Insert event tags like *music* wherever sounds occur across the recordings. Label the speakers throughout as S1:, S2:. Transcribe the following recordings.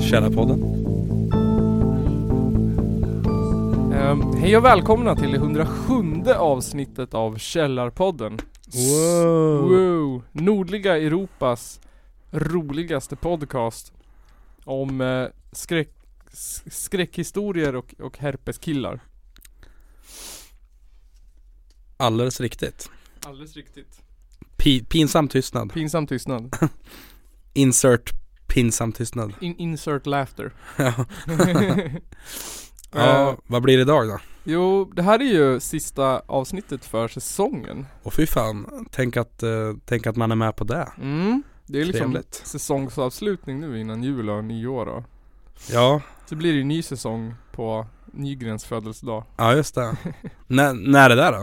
S1: Källarpodden.
S2: Ehm, hej och välkomna till det 107 avsnittet av Källarpodden. Oh. Wow. Nordliga Europas roligaste podcast om eh, skräck, s- skräckhistorier och, och herpeskillar.
S1: Alldeles riktigt.
S2: Alldeles riktigt.
S1: Pi- pinsam tystnad.
S2: Pinsam tystnad.
S1: Insert pinsam tystnad.
S2: In, insert *laughs* laughter.
S1: ja,
S2: Eh,
S1: vad blir det idag då?
S2: jo, det här är ju sista avsnittet för säsongen.
S1: Och fy fan, tänk att, eh, tänk att man är med på det.
S2: Mm. Det är liksom
S1: Trevligt.
S2: säsongsavslutning nu innan jul och nyår då.
S1: Ja,
S2: Så blir det ju ny säsong på Nygrens födelsedag.
S1: ja just
S2: *laughs*
S1: det. N- när är det där då?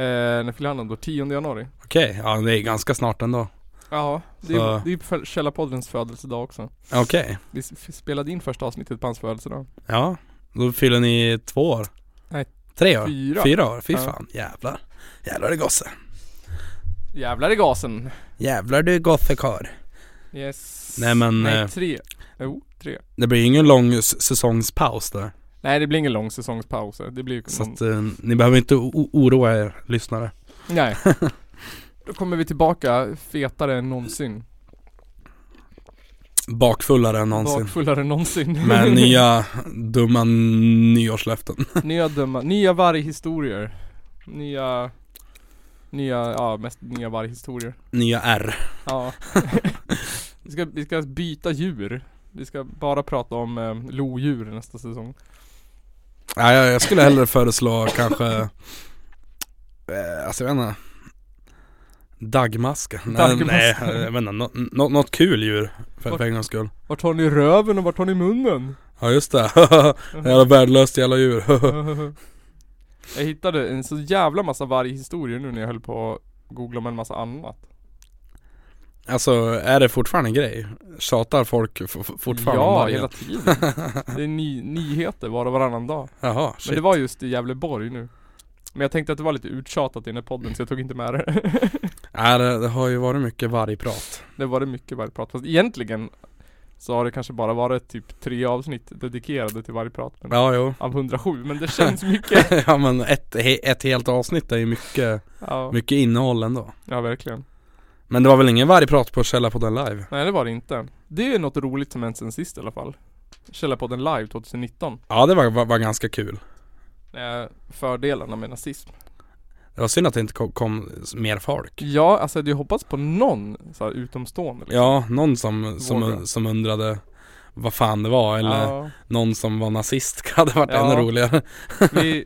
S2: Eh, när fyller han den då? 10 januari?
S1: Okej, ja det är ganska snart ändå.
S2: Ja, det
S1: Så-
S2: är, det är på Källarpoddens födelsedag också.
S1: Okej,
S2: Vi s- spelade in första avsnittet på hans födelsedag.
S1: ja. Då fyller ni två år.
S2: Nej,
S1: Tre år.
S2: fyra.
S1: Fyra år, fy
S2: Ja.
S1: fan. Jävlar. Jävlar du gosse.
S2: Jävlar i gasen!
S1: Jävlar du gossekar.
S2: Yes.
S1: Nej, men, eh,
S2: Nej, tre. Jo, tre.
S1: Det blir ju ingen lång s- säsongspaus där.
S2: Nej det blir ingen lång säsongspaus. Det blir ju
S1: Så
S2: någon...
S1: att eh, ni behöver inte o- oroa er lyssnare. *laughs*
S2: Nej. Då kommer vi tillbaka fetare än någonsin.
S1: Bakfullare än någonsin.
S2: Bakfullare
S1: *laughs*
S2: än någonsin.
S1: Med nya dumma nyårslöften.
S2: *laughs* nya döma, nya varghistorier. Nya... Nya, ja mest nya varghistorier.
S1: Nya R.
S2: Ja. *laughs* vi, ska, vi ska byta djur. Vi ska bara prata om eh, lodjur nästa säsong.
S1: Ja, jag, jag skulle hellre föreslå kanske, eh, alltså jag vet inte. Dagmaska. Nej,
S2: Dagmask.
S1: nej, jag vet inte. Nå- nå- något kul djur för, för en gångs skull.
S2: Vart har ni röven och vart har ni munnen?
S1: *laughs* Ja just det.
S2: Mm-hmm.
S1: Jävla värdelöst jävla djur. *laughs*
S2: jag hittade en så jävla massa varghistorier nu när jag höll på att googla om en massa annat.
S1: alltså är det fortfarande en grej? Tjatar folk f- f- fortfarande om
S2: Ja,
S1: vargen?
S2: hela tiden. Det
S1: *laughs*
S2: är ny, nyheter var och varannan dag.
S1: Jaha, shit.
S2: Men det var just i Gävleborg nu. Men jag tänkte att det var lite uttjatat i den här podden så jag tog inte med det. *laughs*
S1: Nej, det, det har ju varit mycket vargprat.
S2: Det var det mycket vargprat, fast egentligen så har det kanske bara varit typ tre avsnitt dedikerade till vargprat men
S1: Ja, jo.
S2: Av 107, men
S1: *laughs*
S2: det känns mycket
S1: ja men ett, he- ett helt avsnitt är ju mycket,
S2: ja,
S1: mycket innehåll ändå.
S2: ja, verkligen
S1: Men det var väl ingen vargprat på Källarpodden live?
S2: Nej det var det inte Det är något roligt som hänt sen sist i alla fall Källarpodden live 2019
S1: Ja det var, var, var ganska kul.
S2: eh, Fördelarna med nazism
S1: Det var synd att det inte kom, kom mer folk.
S2: Ja, alltså jag hade ju hoppats på någon så här, utomstående liksom.
S1: Ja, någon som,
S2: Våga.
S1: som, som undrade vad fan det var eller
S2: Ja,
S1: någon som var nazist *laughs* hade varit
S2: Ja.
S1: ännu roligare.
S2: Vi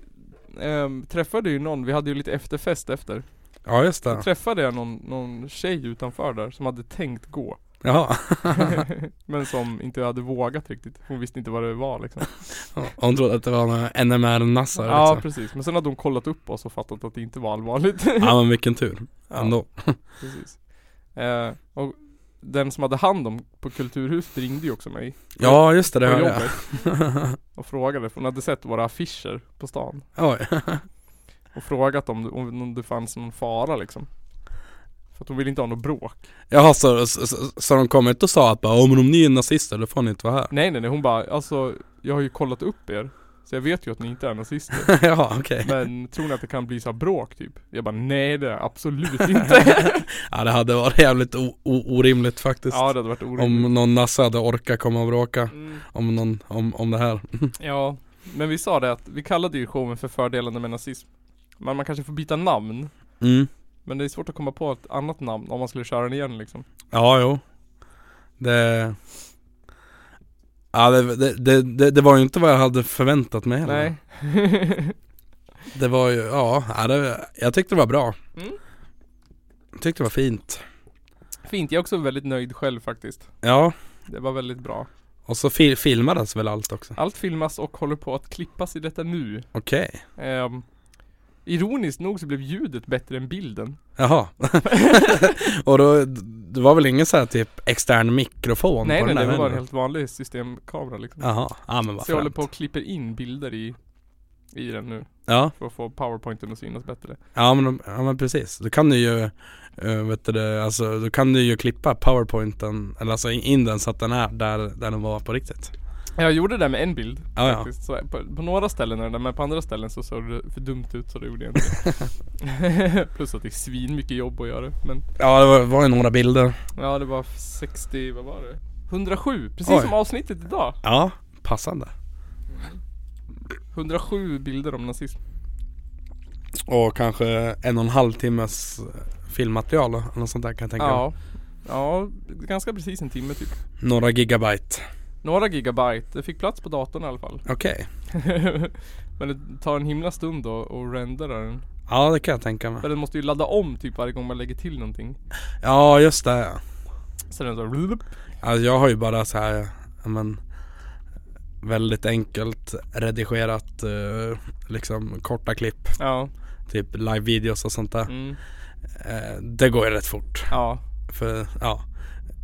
S2: ehm, träffade ju någon, vi hade ju lite efterfest efter
S1: Ja just
S2: Då
S1: det.
S2: träffade jag någon, någon tjej utanför där som hade tänkt gå
S1: Jaha. *laughs*
S2: *laughs* Men som inte hade vågat riktigt. Hon visste inte vad det var
S1: *laughs*
S2: liksom.
S1: Hon trodde att det var några NMR-nassar
S2: Ja
S1: liksom.
S2: precis. Men sen hade hon kollat upp oss och fattat att det inte var allvarligt. *laughs*
S1: Ja men vilken tur. Ändå.
S2: precis. Eh, och den som hade hand om på Kulturhuset ringde ju också mig.
S1: Ja just det, det
S2: på
S1: hörde jag.
S2: jobbet Och frågade, för hon hade sett våra affischer på stan.
S1: *laughs* Oj.
S2: Och frågat om, om, om det fanns någon fara liksom. För att hon ville inte ha något bråk.
S1: Jaha, så, så, så, så de kom inte och sa att bara, "Ja, men om ni är nazister då får ni inte vara här? *laughs*
S2: Nej nej nej, hon bara, alltså jag har ju kollat upp er. Så jag vet ju att ni inte är nazister.
S1: Jaha, okej.
S2: Men tror ni att det kan bli så här bråk typ? Jag bara nej det är det
S1: *laughs*
S2: absolut inte. *laughs*
S1: Ja det hade varit jävligt o- o- orimligt faktiskt.
S2: ja det hade varit orimligt.
S1: om någon nasse hade orkat komma och bråka
S2: Mm,
S1: om, någon, om, om det här.
S2: ja, men vi sa det att vi kallade ju showen för fördelarna med nazism. Men man kanske får byta namn.
S1: Mm.
S2: Men det är svårt att komma på ett annat namn om man skulle köra den igen liksom.
S1: Ja, jo. Det... Ja, det, det, det, det, det var ju inte vad jag hade förväntat mig heller.
S2: Nej. *laughs*
S1: Det var ju, ja, ja, det, jag tyckte det var bra.
S2: Mm.
S1: Jag tyckte det var fint.
S2: Fint, jag är också väldigt nöjd själv faktiskt.
S1: Ja,
S2: Det var väldigt bra.
S1: och så fi- filmades väl allt också.
S2: Allt filmas och håller på att klippas i detta nu.
S1: Okej.
S2: Ehm, ironiskt nog så blev ljudet bättre än bilden.
S1: Jaha. *laughs* och då, det var väl ingen så här typ extern mikrofon
S2: nej
S1: på
S2: nej,
S1: den
S2: nej, det
S1: där
S2: var en
S1: heller?
S2: helt vanlig systemkamera liksom.
S1: Jaha, ja men vad
S2: Så jag håller
S1: fränt.
S2: på och klipper in bilder i, i den nu
S1: Ja,
S2: för att få powerpointen att synas bättre.
S1: ja men, ja men precis. Då kan du ju Eh, vet du, det, alltså, då kan du ju klippa powerpointen, eller alltså in- in den så att den är där, där den var på riktigt.
S2: Jag gjorde det där med en bild
S1: Ja, ja.
S2: faktiskt. Så på, på några ställen är det men på andra ställen så såg det för dumt ut så det gjorde jag
S1: *laughs*
S2: inte. Plus att det är svin mycket jobb att göra. Men
S1: Ja det var, var ju några bilder.
S2: ja, det var 60, vad var det? 107, precis
S1: Oj.
S2: som avsnittet idag.
S1: Ja, passande.
S2: 107 bilder om nazism.
S1: Och kanske en och en halv timmes eh, filmmaterial eller något sånt där kan jag tänka mig.
S2: Ja. Ja, ganska precis en timme typ.
S1: Några gigabyte.
S2: Några gigabyte, det fick plats på datorn i alla fall. *laughs*
S1: Okej.
S2: Men det tar en himla stund då och rendera den.
S1: Ja det kan jag tänka mig.
S2: För den måste ju ladda om typ varje gång man lägger till någonting.
S1: Ja just det. ja.
S2: Så den så
S1: Alltså jag har ju bara så här, ja, men väldigt enkelt redigerat eh, liksom korta klipp.
S2: Ja,
S1: Typ live-videos och sånt där.
S2: mm,
S1: Eh, det går ju rätt fort.
S2: ja.
S1: För ja,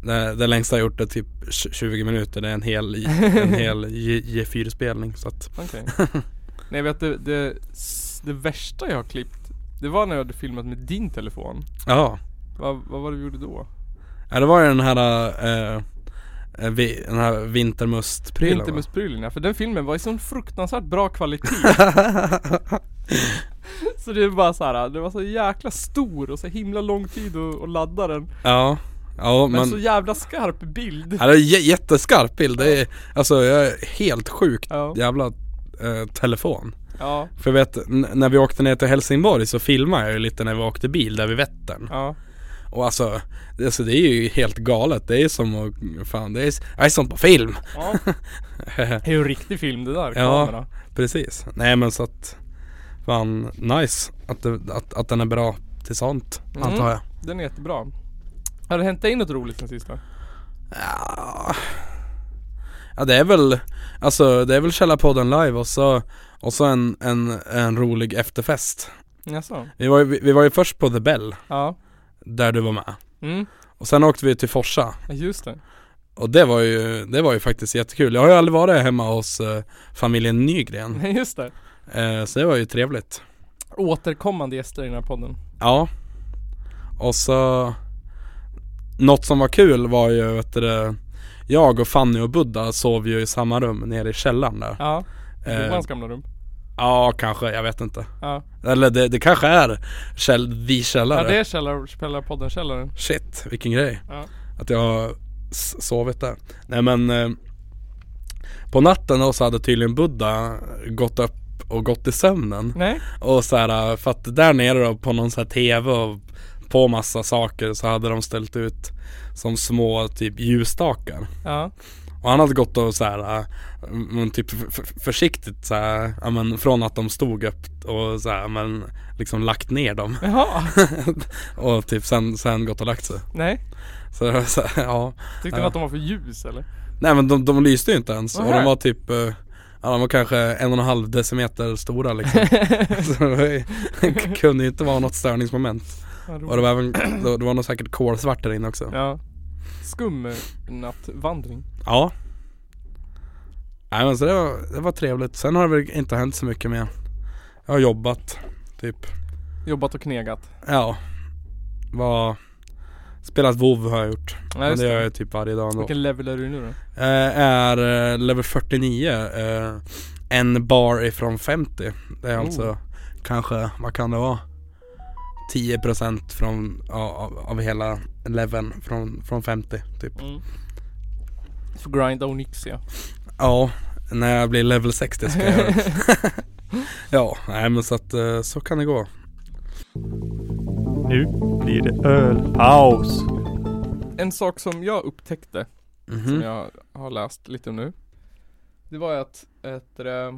S1: det, det längsta jag gjort är typ tj- 20 minuter. Det är en hel,
S2: *laughs*
S1: en hel G4-spelning. Så att,
S2: Okej. Nej vet du, det, det värsta jag har klippt Det var när jag hade filmat med din telefon.
S1: ja.
S2: Vad, vad var det vi gjorde då?
S1: Ja det var ju den här, eh, eh, vi, den här vintermustprylen va?
S2: Vintermusprylen ja, för den filmen var i sån fruktansvärt bra kvalitet. så det var bara så här, det var så jäkla stor och så himla lång tid att, att ladda den.
S1: *laughs* Ja, ja
S2: Men
S1: men
S2: så jävla skarp bild.
S1: ja, det är j- jätteskarp bild, det är, alltså jag är helt sjukt
S2: Ja,
S1: jävla eh, telefon.
S2: ja,
S1: För jag vet, n- när vi åkte ner till Helsingborg så filmade jag ju lite när vi åkte bil där vid Vättern.
S2: ja.
S1: Och alltså, det, alltså, det är ju helt galet, det är som att, fan det är, s- jag är som på film. *laughs*
S2: ja. Det är ju en riktig film det där, kamera.
S1: Precis, nej men så att, fan nice att, det, att, att den är bra till sånt,
S2: Mm.
S1: antar jag.
S2: Den är jättebra. Har det hänt dig något roligt sen sist då?
S1: Ja. ja det är väl Alltså det är väl Källarpodden live och så Och så en, en, en rolig efterfest
S2: Jaså?
S1: vi var, ju, vi var ju först på The Bell
S2: Ja.
S1: Där du var med
S2: Mm,
S1: Och sen åkte vi till Forsa
S2: ja, just det. *laughs*
S1: Och det var ju, det var ju faktiskt jättekul Jag har ju aldrig varit hemma hos eh, familjen Nygren
S2: Nej, just det.
S1: eh, Så det var ju trevligt
S2: Återkommande gäster i den här podden.
S1: Ja Och så Något som var kul var ju vet du, det, Jag och Fanny och Buddha sov ju i samma rum nere i källaren där
S2: Ja. I
S1: Eh,
S2: Johans gamla rum.
S1: Ja, kanske. Jag vet inte.
S2: Ja.
S1: Eller det, det kanske är käll, the källare.
S2: ja, det är källar, spelar podden Källaren.
S1: Shit, vilken grej.
S2: Ja.
S1: Att jag har s- sovit där. Nej men eh, På natten då så hade tydligen Buddha gått upp och gått i sömnen.
S2: Nej?
S1: Och så här, eh, för att där nere då på någon så här TV och på massa saker så hade de ställt ut som små typ ljusstakar.
S2: Ja.
S1: Och han hade gått och så här, äh, men typ f- f- försiktigt så här, ja, men från att de stod upp och så här, men liksom lagt ner dem. *laughs*
S2: Jaha.
S1: och typ sen, sen gått och lagt sig.
S2: Nej.
S1: Så, det var så här, *laughs* ja.
S2: Tyckte
S1: Ja.
S2: ni att de var för ljus eller?
S1: Nej men de, de lyste ju inte ens. Och
S2: Nähä.
S1: de var typ, eh, ja de var kanske en och en halv decimeter stora liksom.
S2: *laughs*
S1: så det var ju- kunde ju inte vara något störningsmoment.
S2: Vad
S1: Och det
S2: roligt.
S1: var även, det var nog säkert kolsvart där inne också.
S2: Ja. Skum eh, nattvandring.
S1: Ja. Nej men så det var, det var trevligt. Sen har det väl inte hänt så mycket mer. Jag har jobbat, typ.
S2: Jobbat och knegat.
S1: Ja. Var, spelat WoW har jag gjort.
S2: Ja,
S1: Men
S2: just
S1: det gör
S2: det.
S1: jag typ varje dag ändå.
S2: Vilken level är du nu då?
S1: Eh, är eh, level 49. Eh, en bar ifrån 50. Det är
S2: Oh.
S1: alltså kanske, vad kan det vara? 10% från, ja, av, av hela leveln från, från 50 typ.
S2: Mm. Får grinda Onyxia.
S1: Ja, när jag blir level 60 ska jag göra
S2: *laughs*
S1: det. Ja, nej men så att eh, så kan det gå.
S3: Nu blir det ölpaus.
S2: En sak som jag upptäckte
S1: Mhm.
S2: som jag har läst lite om nu. Det var ju att, att eh,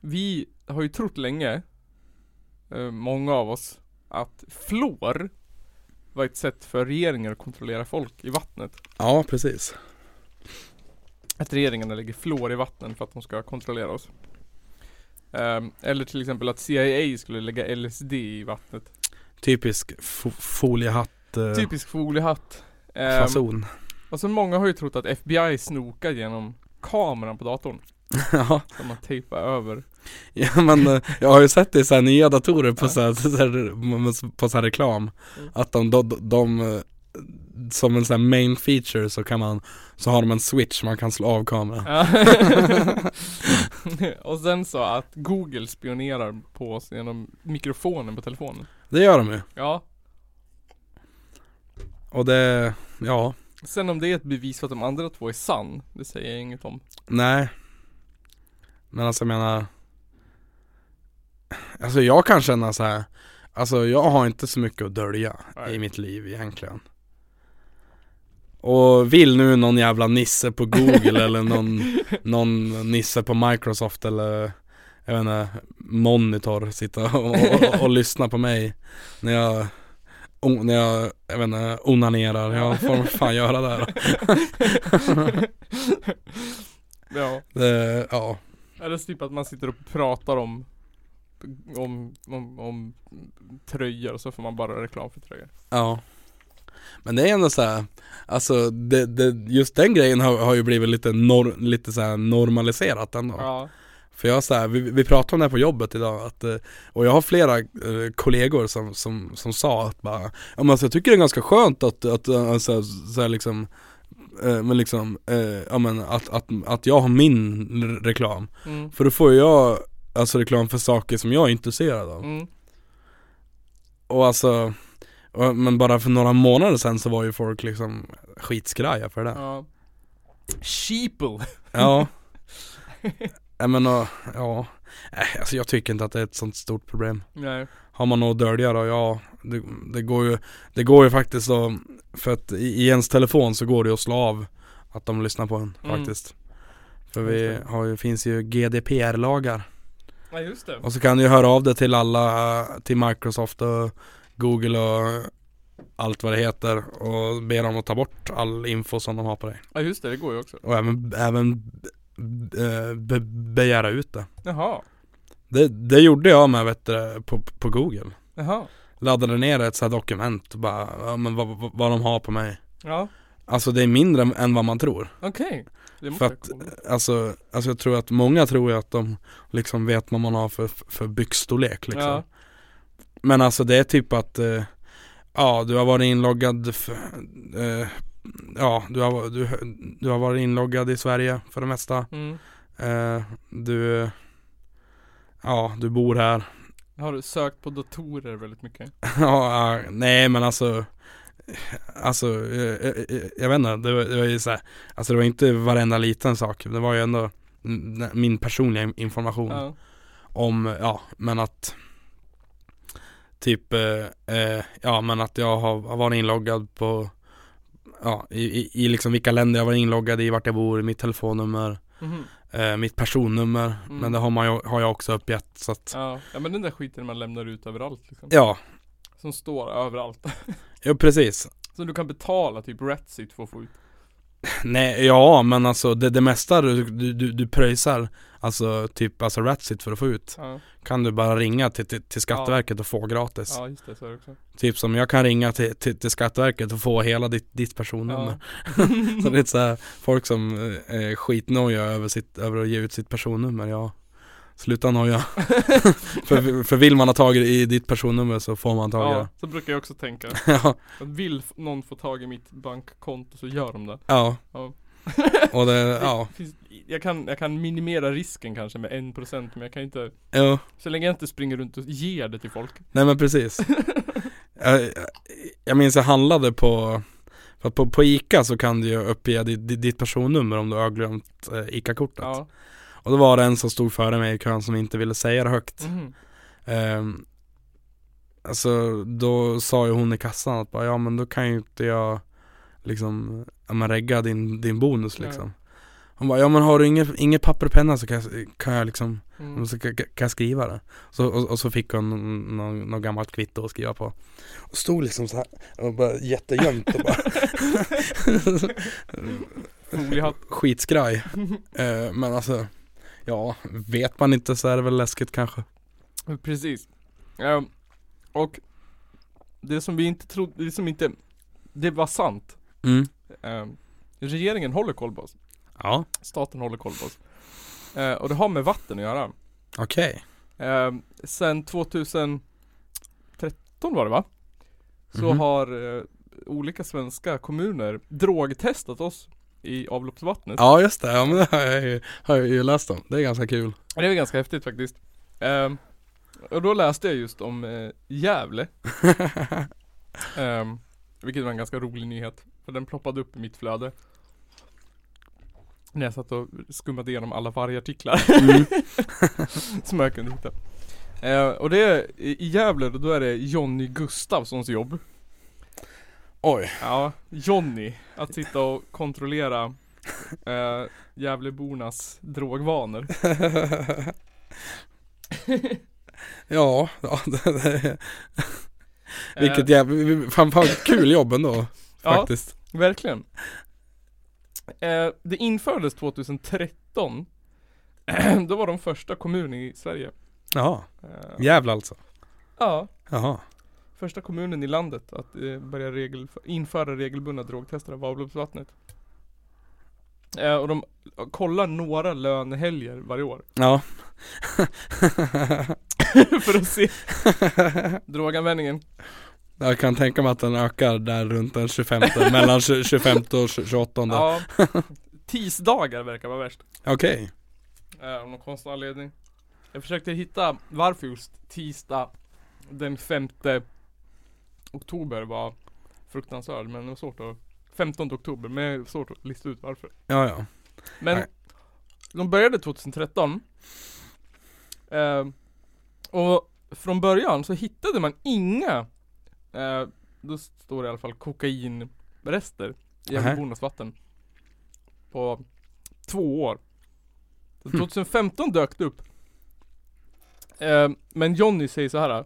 S2: vi har ju trott länge, eh, många av oss, att flor var ett sätt för regeringen att kontrollera folk i vattnet.
S1: Ja, precis.
S2: Att regeringarna lägger flor i vatten för att de ska kontrollera oss. Eh, eller till exempel att CIA skulle lägga LSD i vattnet.
S1: Typisk fo- foliehatt eh,
S2: Typisk foliehatt. Eh,
S1: fason.
S2: och så många har ju trott att FBI snokar genom kameran på datorn.
S1: *laughs* ja,
S2: som man tejpar över.
S1: ja, men eh, jag har ju sett det i så här nya datorer på
S2: Ja.
S1: så här, så här, på så här reklam
S2: Mm.
S1: Att de, de, de eh, som en sån här main feature så kan man Så har de en switch man kan slå av kameran
S2: Ja. *laughs* och sen så att Google spionerar på oss genom mikrofonen på telefonen.
S1: Det gör de ju
S2: Ja,
S1: Och det, ja,
S2: sen om det är ett bevis för att de andra två är sann, det säger jag inget om.
S1: nej Men alltså jag menar Alltså jag kan känna så här. Alltså jag har inte så mycket att dölja
S2: Nej.
S1: i mitt liv egentligen Och vill nu någon jävla nisse på Google eller någon, någon nisse på Microsoft eller Jag vet inte, monitor sitta och, och, och lyssna på mig När jag, o- när jag, jag vet inte, onanerar, ja får de fan göra det då
S2: *laughs* ja,
S1: Det, ja,
S2: eller typ att man sitter och pratar om om, om, om tröjor och så får man bara reklam för tröjor.
S1: ja Men det är ändå så här, alltså det, det, just den grejen har, har ju blivit lite, nor, lite så här normaliserat ändå
S2: Ja.
S1: För jag så här, vi, vi pratade om det här på jobbet idag att, eh, och jag har flera eh, kollegor som, som, som sa att bara, ja men alltså, jag tycker det är ganska skönt att, att eh, så, här, så här liksom eh, men liksom, eh, ja men att, att, att jag har min re- reklam
S2: Mm.
S1: För då får ju jag alltså reklam för saker som jag är intresserad av
S2: Mm.
S1: Och alltså, och, men bara för några månader sedan så var ju folk liksom skitskraja för det
S2: Ja. Sheeple.
S1: Ja *laughs* Nej men och, ja, Äh, alltså jag tycker inte att det är ett sånt stort problem
S2: Nej.
S1: Har man något att dölja då? Ja, det, det, går ju, det går ju faktiskt då, för att i, i ens telefon så går det ju att slå av att de lyssnar på en
S2: Mm.
S1: faktiskt. För vi
S2: Just det.
S1: har ju, finns ju GDPR-lagar.
S2: Nej just det.
S1: Och så kan du ju höra av dig till alla, till Microsoft och Google och allt vad det heter och be dem att ta bort all info som de har på dig.
S2: Ja just det, det går ju också.
S1: Och även, även be, be, begära ut det.
S2: Jaha.
S1: Det, det gjorde jag med vet du, på, på Google.
S2: Jaha.
S1: laddade ner ett så här dokument och bara, ja, men vad, vad, vad de har på mig
S2: Ja.
S1: Alltså det är mindre än- än vad man tror
S2: Okej. Det måste
S1: För
S2: jag
S1: att,
S2: kolla.
S1: alltså, alltså jag tror att många tror ju att de liksom vet vad man har för, för byxstorlek liksom
S2: Ja.
S1: Men alltså det är typ att, eh, ja du har varit inloggad för, eh, Ja, du har, du, du har varit inloggad i Sverige för det mesta
S2: Mm.
S1: eh, Du Ja, du bor här *laughs*
S2: Har du sökt på datorer väldigt mycket?
S1: Ja, ja, nej men alltså Alltså, eh, eh, eh, jag vet inte, det var, det var ju så här, Alltså det var inte varenda liten sak, det var ju ändå n- min personliga information
S2: Ja.
S1: om, ja men att Typ, eh, eh, ja men att jag har, har varit inloggad på Ja, i, i, i liksom vilka länder jag var inloggad i, vart jag bor, mitt telefonnummer
S2: Mhm.
S1: eh, Mitt personnummer,
S2: Mm.
S1: men det har, man ju, har jag också uppgett så att
S2: Ja. ja men den där skiten man lämnar ut överallt liksom.
S1: Ja,
S2: Som står överallt. *laughs*
S1: ja precis
S2: Som du kan betala typ Ratsit för att få ut.
S1: Nej, ja men alltså det, det mesta du, du, du, du pröjsar Alltså typ alltså Ratsit för att få ut
S2: Ja.
S1: Kan du bara ringa till, till, till Skatteverket och få gratis
S2: Ja just det, så är det också.
S1: Typ som jag kan ringa till, till, till Skatteverket och få hela ditt, ditt personnummer
S2: Ja.
S1: *laughs* Så det är så här, folk som eh, är skitnoja över, sitt, över att ge ut sitt personnummer, ja Sluta
S2: *laughs*
S1: noja för, för vill man ha tag i ditt personnummer så får man tag i
S2: ja,
S1: det
S2: så brukar jag också tänka.
S1: *laughs* Ja,
S2: Att vill f- någon få tag i mitt bankkonto så gör de det.
S1: ja
S2: Ja.
S1: Och det, ja,
S2: Finns, jag, kan, jag kan minimera risken kanske med 1% men jag kan inte
S1: jo
S2: Så länge jag inte springer runt och ger det till folk. *laughs*
S1: Nej men precis jag, jag- jag minns jag handlade på för att på, på Ica så kan du ju uppge ditt, ditt- ditt personnummer om du har glömt eh, Ica-kortet
S2: Ja.
S1: Och då var det en som stod före mig i kön som inte ville säga det högt
S2: Mhm.
S1: Ehm, Alltså då sa ju hon i kassan att bara, ja men då kan ju inte jag liksom, ja men regga din, din bonus
S2: Nej.
S1: liksom Hon bara, ja men har du inget, inget papper och penna så kan jag, kan jag liksom
S2: Mm.
S1: Mm.
S2: *laughs*
S1: Så kan, kan jag skriva det? Så, och, och så fick hon någon, någon, någon gammalt kvitto att skriva på Och stod liksom så här och bara jättegömt och bara
S2: Mm, Foliehatt.
S1: *laughs* Skitskraj eh, Men alltså Ja, vet man inte så är det väl läskigt kanske
S2: Precis. Ehm, och det som vi inte trodde, det som inte, det var sant.
S1: mm.
S2: Ehm, regeringen håller koll på oss.
S1: Ja
S2: Staten håller koll på oss. Eh, och det har med vatten att göra.
S1: Okej.
S2: Eh, sen 2013 var det va? Så
S1: Mhm.
S2: har eh, olika svenska kommuner drogtestat oss i avloppsvattnet.
S1: Ja just det, ja men det har jag ju, har jag ju läst om. Det är ganska kul.
S2: Det var ganska häftigt faktiskt. Ehm, och då läste jag just om eh, Gävle. Ehm, vilket var en ganska rolig nyhet. För den ploppade upp i mitt flöde. När jag satt och skummade igenom alla vargartiklar. *laughs* som jag kunde hitta. Ehm, och det är i Gävle då är det Jonny Gustafssons jobb.
S1: Oj.
S2: Ja, Jonny. Att sitta och kontrollera eh, Gävlebornas drogvanor.
S1: *laughs* ja, ja *laughs* det, det, vilket jävla, fan, fan kul jobb ändå
S2: Eh, ja,
S1: faktiskt.
S2: Verkligen. Eh, det infördes 2013. *clears throat* Då var de första kommun i Sverige.
S1: Ja,
S2: Eh,
S1: jävla alltså.
S2: Ja,
S1: Jaha.
S2: första kommunen i landet att eh, börja regel, införa regelbundna drogtester av avloppsvattnet. Eh, och de kollar några lönehelger varje år. *laughs*
S1: Ja. *laughs*
S2: för att se droganvändningen.
S1: jag kan tänka mig att den ökar där runt den 25, *laughs* mellan 25 och 28.
S2: Ja, tisdagar verkar vara värst.
S1: Okej.
S2: Eh, Av någon konstig anledning. Jag försökte hitta varför just tisdag den 5 oktober var fruktansvärd men det var svårt att 15 oktober men det är svårt att lista ut varför.
S1: Ja, ja.
S2: Men
S1: Nej.
S2: de började 2013. Eh, och från början så hittade man inga, eh, då står det i alla fall kokainrester i
S1: Nähä.
S2: Gävlebornas vatten. På två år. Så 2015 dök det upp. Eh, men Jonny säger så här.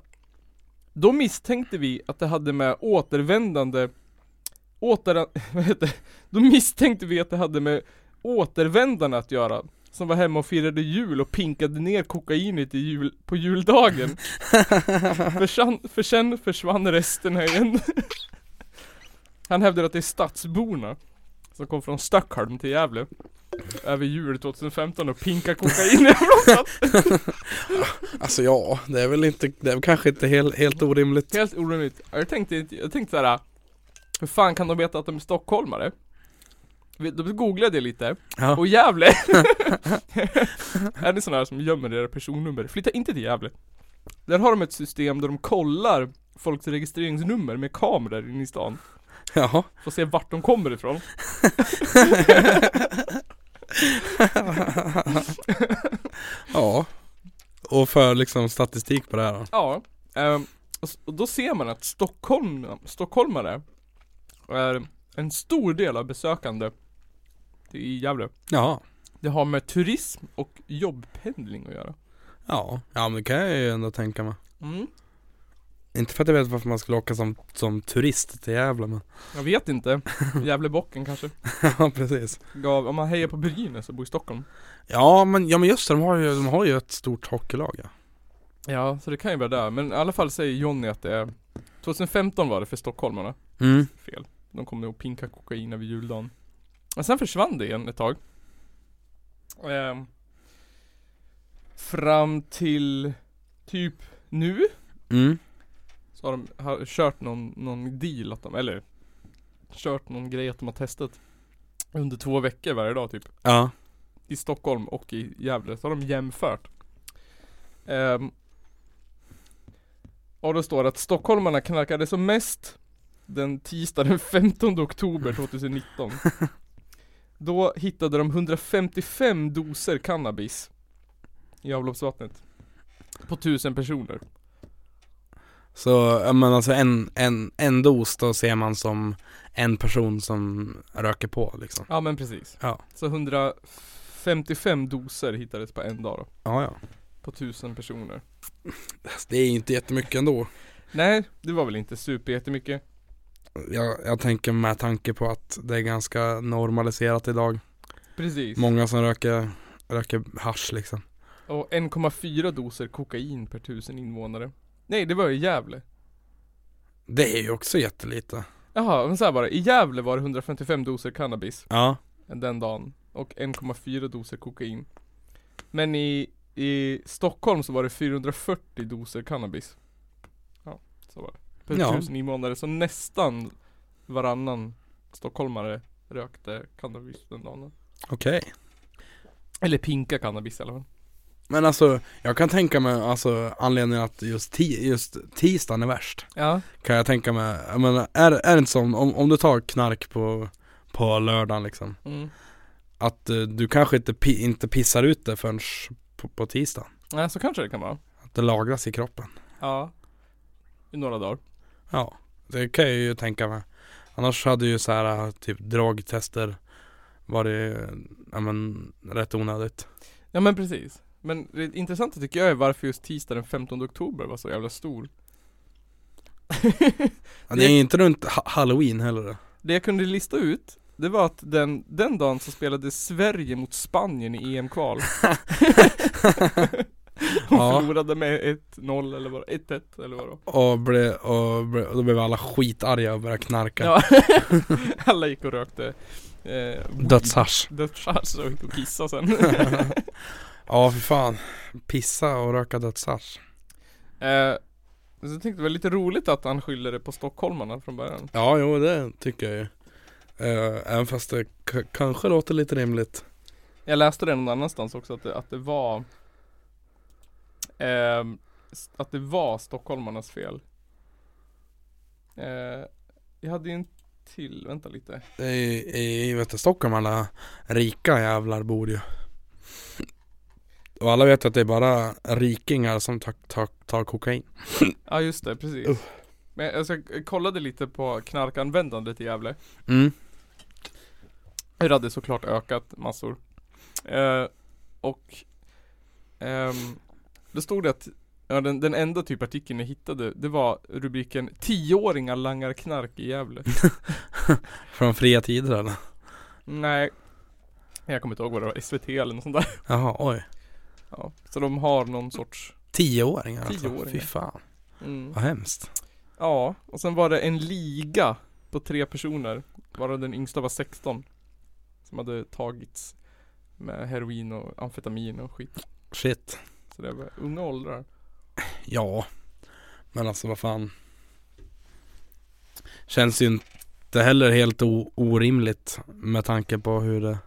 S2: Då misstänkte vi att det hade med återvändande åter, *laughs* vad heter, det? Då misstänkte vi att det hade med återvändarna att göra Som var hemma och firade jul och pinkade ner kokainet i jul, på juldagen för, sen, för sen försvann resterna igen Han hävdar att det är stadsborna Som kom från Stockholm till Gävle Över jul 2015 och pinkade kokain
S1: Alltså ja, det är väl inte, det är väl kanske inte helt, helt orimligt.
S2: Helt orimligt. Ja, Jag tänkte, jag tänkte såhär, hur fan kan de veta att de är stockholmare? Vi- Då googlade jag lite,
S1: Ja.
S2: *laughs* och Gävle! är ni sådana här som gömmer era personnummer? Flytta inte till Gävle. Där har de ett system där de kollar folks registreringsnummer med kameror inne i stan.
S1: Jaha.
S2: Får se vart de kommer ifrån.
S1: ja. Och för liksom statistik på det här då.
S2: Ja, ehm, och s- och då ser man att Stockholm, stockholmare är en stor del av besökande i Gävle.
S1: Ja.
S2: Det har med turism och jobbpendling att göra.
S1: Ja, ja men det kan jag ju ändå tänka mig. Inte för att jag vet varför man skulle åka som, som turist till Gävle men *laughs*
S2: Jag vet inte. Gävlebocken kanske.
S1: Ja precis
S2: Gav, om man hejar på Brynäs och bor i Stockholm.
S1: Ja men, ja men just det, de har ju, de har ju ett stort hockeylag ja.
S2: Ja, så det kan ju vara där. Men i alla fall säger Jonny att det är 2015 var det för stockholmarna.
S1: Mm,
S2: Fel. De kom nog och pinka kokain över juldagen. Men sen försvann det igen ett tag. Ehm, fram till typ nu.
S1: mm,
S2: Så har de har kört någon, någon deal att de, eller Kört någon grej att de har testat Under två veckor varje dag typ
S1: ja,
S2: I Stockholm och i Gävle, så har de jämfört Ehm, Och då står det att stockholmarna knarkade som mest Den tisdag den 15 oktober 2019 Då hittade de 155 doser cannabis I avloppsvattnet På 1000 personer
S1: så ja, men alltså en, en, en dos då ser man som en person som röker på liksom
S2: Ja men precis.
S1: Ja.
S2: Så 155 doser hittades på en dag då,
S1: Ja ja,
S2: på 1000 personer.
S1: det är ju inte jättemycket ändå
S2: Nej, det var väl inte super jättemycket.
S1: jag, jag tänker med tanke på att det är ganska normaliserat idag
S2: Precis.
S1: Många som röker, röker hasch liksom
S2: Och 1,4 doser kokain per 1000 invånare. Nej, det var i Gävle.
S1: Det är ju också jättelite
S2: Jaha, men så här bara. I Gävle var det 155 doser cannabis
S1: Ja,
S2: den dagen. Och 1,4 doser kokain. Men i, i Stockholm så var det 440 doser cannabis. Ja, så var det. Per
S1: Ja.
S2: tusen invånare, så nästan varannan stockholmare rökte cannabis den dagen.
S1: Okej.
S2: Eller pinka cannabis i alla fall.
S1: Men alltså, jag kan tänka mig, alltså anledningen att just, ti- just tisdagen är värst.
S2: Ja.
S1: Kan jag tänka mig, jag menar, är, är det inte som, om, om du tar knark på, på lördagen liksom.
S2: Mm.
S1: Att eh, du kanske inte, pi- inte pissar ut det förrän på, på tisdagen.
S2: ja, så kanske det kan vara.
S1: Att det lagras i kroppen.
S2: Ja. I några dagar.
S1: Ja, det kan jag ju tänka mig. Annars hade ju så här typ drogtester varit, ja men rätt onödigt.
S2: Ja men precis. Men det intressanta tycker jag är varför just tisdag den 15 oktober var så jävla stor.
S1: Ja, det är
S2: Det-
S1: inte runt ha- halloween
S2: *laughs*
S1: heller.
S2: Det jag kunde lista ut, det var att den, den dagen så spelade Sverige mot Spanien
S1: *laughs*
S2: i EM-kval. Och
S1: Ja.
S2: förlorade med 1-0 eller vad 1-1 eller vad det var.
S1: Och, ble, och, ble, och då blev alla skitarga och började knarka.
S2: Ja. Alla gick och rökte eh, *laughs*
S1: Dödshasch.
S2: dödshasch och gick och kissade sen.
S1: ja för fan. Pissa och röka dödshasch.
S2: eh, så jag tänkte det var lite roligt att han skyllde det på stockholmarna från början.
S1: Ja jo det tycker jag ju. Eh, även fast det k- kanske låter lite rimligt.
S2: Jag läste det någon annanstans också att det, att det var ehm, s- Att det var stockholmarnas fel eh, Jag hade ju en till, vänta lite
S1: I, i vet du, Stockholm alla rika jävlar bor ju. Och alla vet att det är bara rikingar som tar, tar, tar kokain.
S2: Ja just det, precis
S1: Uh.
S2: Men alltså, jag kollade lite på knarkanvändandet i Gävle
S1: Mm.
S2: Det hade såklart ökat massor eh, Och ehm, Då stod det att Ja, den, den enda typ artikeln jag hittade, det var rubriken 10-åringar langar knark i Gävle
S1: Från fria tider eller?
S2: Nej Jag kommer inte ihåg vad det var, SVT eller något sånt där
S1: Jaha oj.
S2: ja. Så de har någon sorts
S1: Tioåringar alltså.
S2: Tioåringar.
S1: Fy fan.
S2: mm.
S1: Vad hemskt.
S2: Ja, och sen var det en liga på tre personer Varav den yngsta var 16 Som hade tagits med heroin och amfetamin och skit
S1: Shit.
S2: Så det var unga åldrar
S1: Ja. Men alltså vad fan. Känns ju inte heller helt o- orimligt med tanke på hur det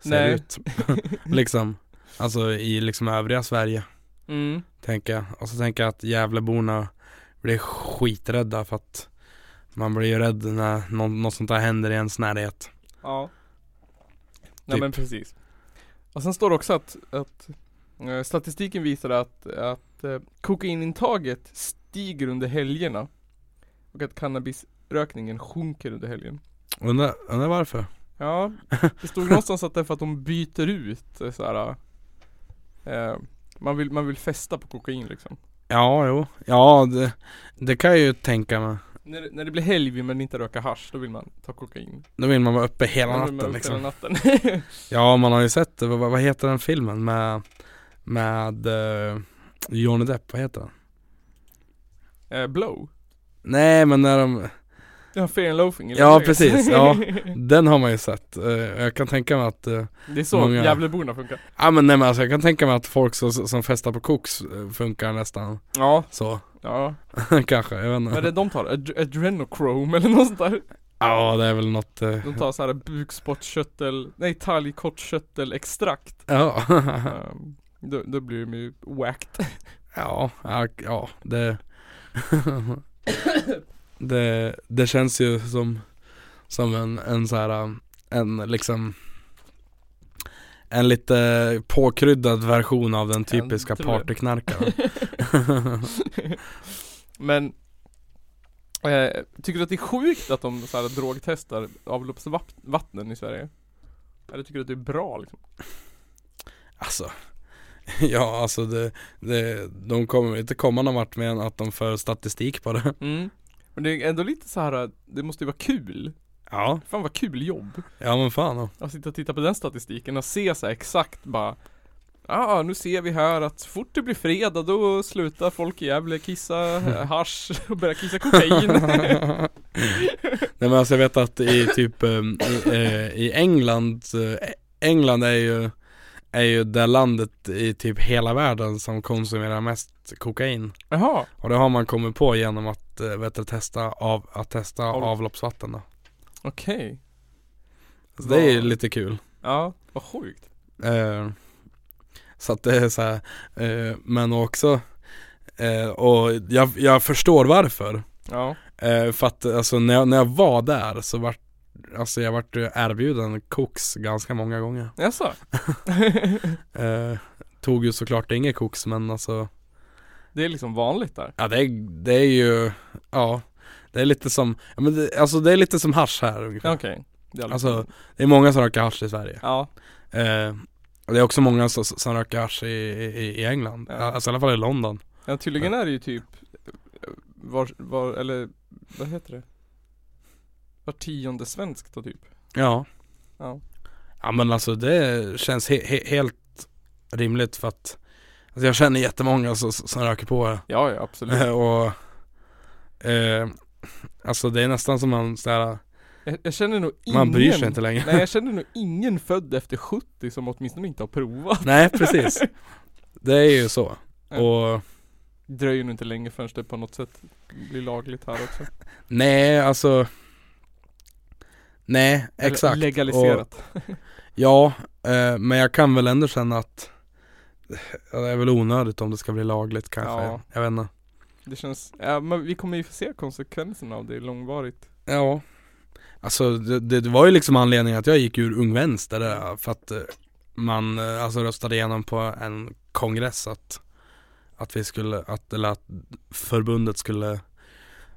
S1: ser
S2: Nej.
S1: ut. *laughs* liksom. Alltså i liksom övriga Sverige.
S2: Mm,
S1: Tänker jag. Och så tänker jag att Gävleborna blir skiträdda för att man blir ju rädd när nå- något sånt där händer i ens närhet.
S2: ja Nej
S1: Typ.
S2: men precis Och sen står det också att, att eh, Statistiken visar att, att eh, kokainintaget stiger under helgerna Och att cannabisrökningen sjunker under helgen
S1: Undrar, undrar varför?
S2: Ja,
S1: *laughs*
S2: det stod någonstans att det är för att de byter ut eh, så här. Eh, man, vill, man vill festa på kokain liksom
S1: Ja, jo. Ja, det, det kan jag ju tänka mig.
S2: när, det- när det blir helg vill man inte röka hasch, då vill man ta kokain
S1: Då vill man vara uppe hela
S2: Då vill man
S1: natten
S2: upp
S1: liksom.
S2: Hela natten *laughs*
S1: Ja man har ju sett det, vad, vad heter den filmen med, med eh, Johnny Depp, vad heter den?
S2: eh, Blow
S1: Nej men när de,
S2: Ja, fair and loafing eller
S1: Ja,
S2: vad det är.
S1: precis, ja.
S2: *laughs*
S1: den har man ju sett. Eh, jag kan tänka mig att, eh,
S2: Det är så
S1: Många-
S2: Gävleborna funkar
S1: ja men nej men alltså jag kan tänka mig att folk som, som festar på koks eh, funkar nästan
S2: Ja,
S1: så, *laughs*
S2: ja
S1: kanske, jag vet
S2: Vad är
S1: inte.
S2: det de tar? Ad- adrenochrome eller något sånt där
S1: Ja det är väl något, eh,
S2: De tar såhär bukspottkörtel, nej talgkottkörtelextrakt
S1: *laughs* ja.
S2: Eh, då, då blir de ju whacked
S1: ja, ja, ja det, *laughs* det, det känns ju som, som en, en så här, en liksom en lite påkryddad version av den typiska
S2: tror det.
S1: partyknarkaren
S2: *laughs* Men eh, Tycker du att det är sjukt att de så här drogtestar avloppsvattnen i Sverige? Eller tycker du att det är bra liksom?
S1: Alltså *laughs* Ja alltså det, det, de kommer inte komma någon vart med än att de för statistik på det *laughs*
S2: Men det är ändå lite så här. det måste ju vara kul
S1: Ja,
S2: Fan vad kul jobb
S1: ja men fan
S2: Att sitta och titta på den statistiken och se så här exakt bara Ja, ah, nu ser vi här att så fort det blir fredag då slutar folk i
S1: *laughs*
S2: Gävle kissa eh, hasch och börjar kissa kokain
S1: Nej men alltså jag vet att i typ eh, i, eh, i England eh, England är ju är ju det landet i typ hela världen som konsumerar mest kokain
S2: Jaha,
S1: Och det har man kommit på genom att, eh, vet du, testa, av, att testa
S2: Av-
S1: avloppsvatten då.
S2: okej.
S1: Så det är ju
S2: Vad-
S1: lite kul
S2: Ja, vad sjukt.
S1: Eh, Så att det är så här, eh, men också eh, Och jag, jag förstår varför
S2: Ja,
S1: Eh, för att alltså när jag, när jag var där så vart Alltså jag vart ju erbjuden koks ganska många
S2: *laughs*
S1: gånger
S2: jaså?
S1: eh, Tog ju såklart inget koks men alltså
S2: det är liksom vanligt där.
S1: Ja det är, det är ju Ja Det är lite som ja, men det, Alltså det är lite som hasch här ungefär
S2: Ja, Okej. Det är
S1: Alltså det är många som röker hasch i Sverige
S2: Ja,
S1: eh, Och det är också många som, som röker hasch i, i, i England
S2: Ja.
S1: Alltså i alla fall i London
S2: ja tydligen är det ju typ eh, var, var, eller vad heter det? Var tionde svensk då typ.
S1: Ja
S2: Ja.
S1: Ja men alltså det känns he, he, helt rimligt för att Alltså jag känner jättemånga som, som röker på här
S2: Ja, ja absolut.
S1: Eh, *laughs* och eh, Alltså det är nästan som man såhär,
S2: Jag, jag känner nog ingen
S1: man bryr sig inte längre *laughs*
S2: Nej jag känner nog ingen född efter 70 som åtminstone inte har provat.
S1: Nej precis Det är ju så
S2: Ja.
S1: Och
S2: Det dröjer nog inte länge förrän det på något sätt blir lagligt här också.
S1: nej alltså Nej
S2: Eller
S1: exakt Och,
S2: Legaliserat.
S1: Ja eh, men jag kan väl ändå känna att ja, Det är väl onödigt om det ska bli lagligt kanske
S2: Ja.
S1: Jag vet inte
S2: Det känns, ja men vi kommer ju få se konsekvenserna av det långvarigt.
S1: Ja Alltså det, det det var ju liksom anledningen att jag gick ur Ung Vänster där, för att eh, man eh, alltså röstade igenom på en kongress att att vi skulle, att, eller att förbundet skulle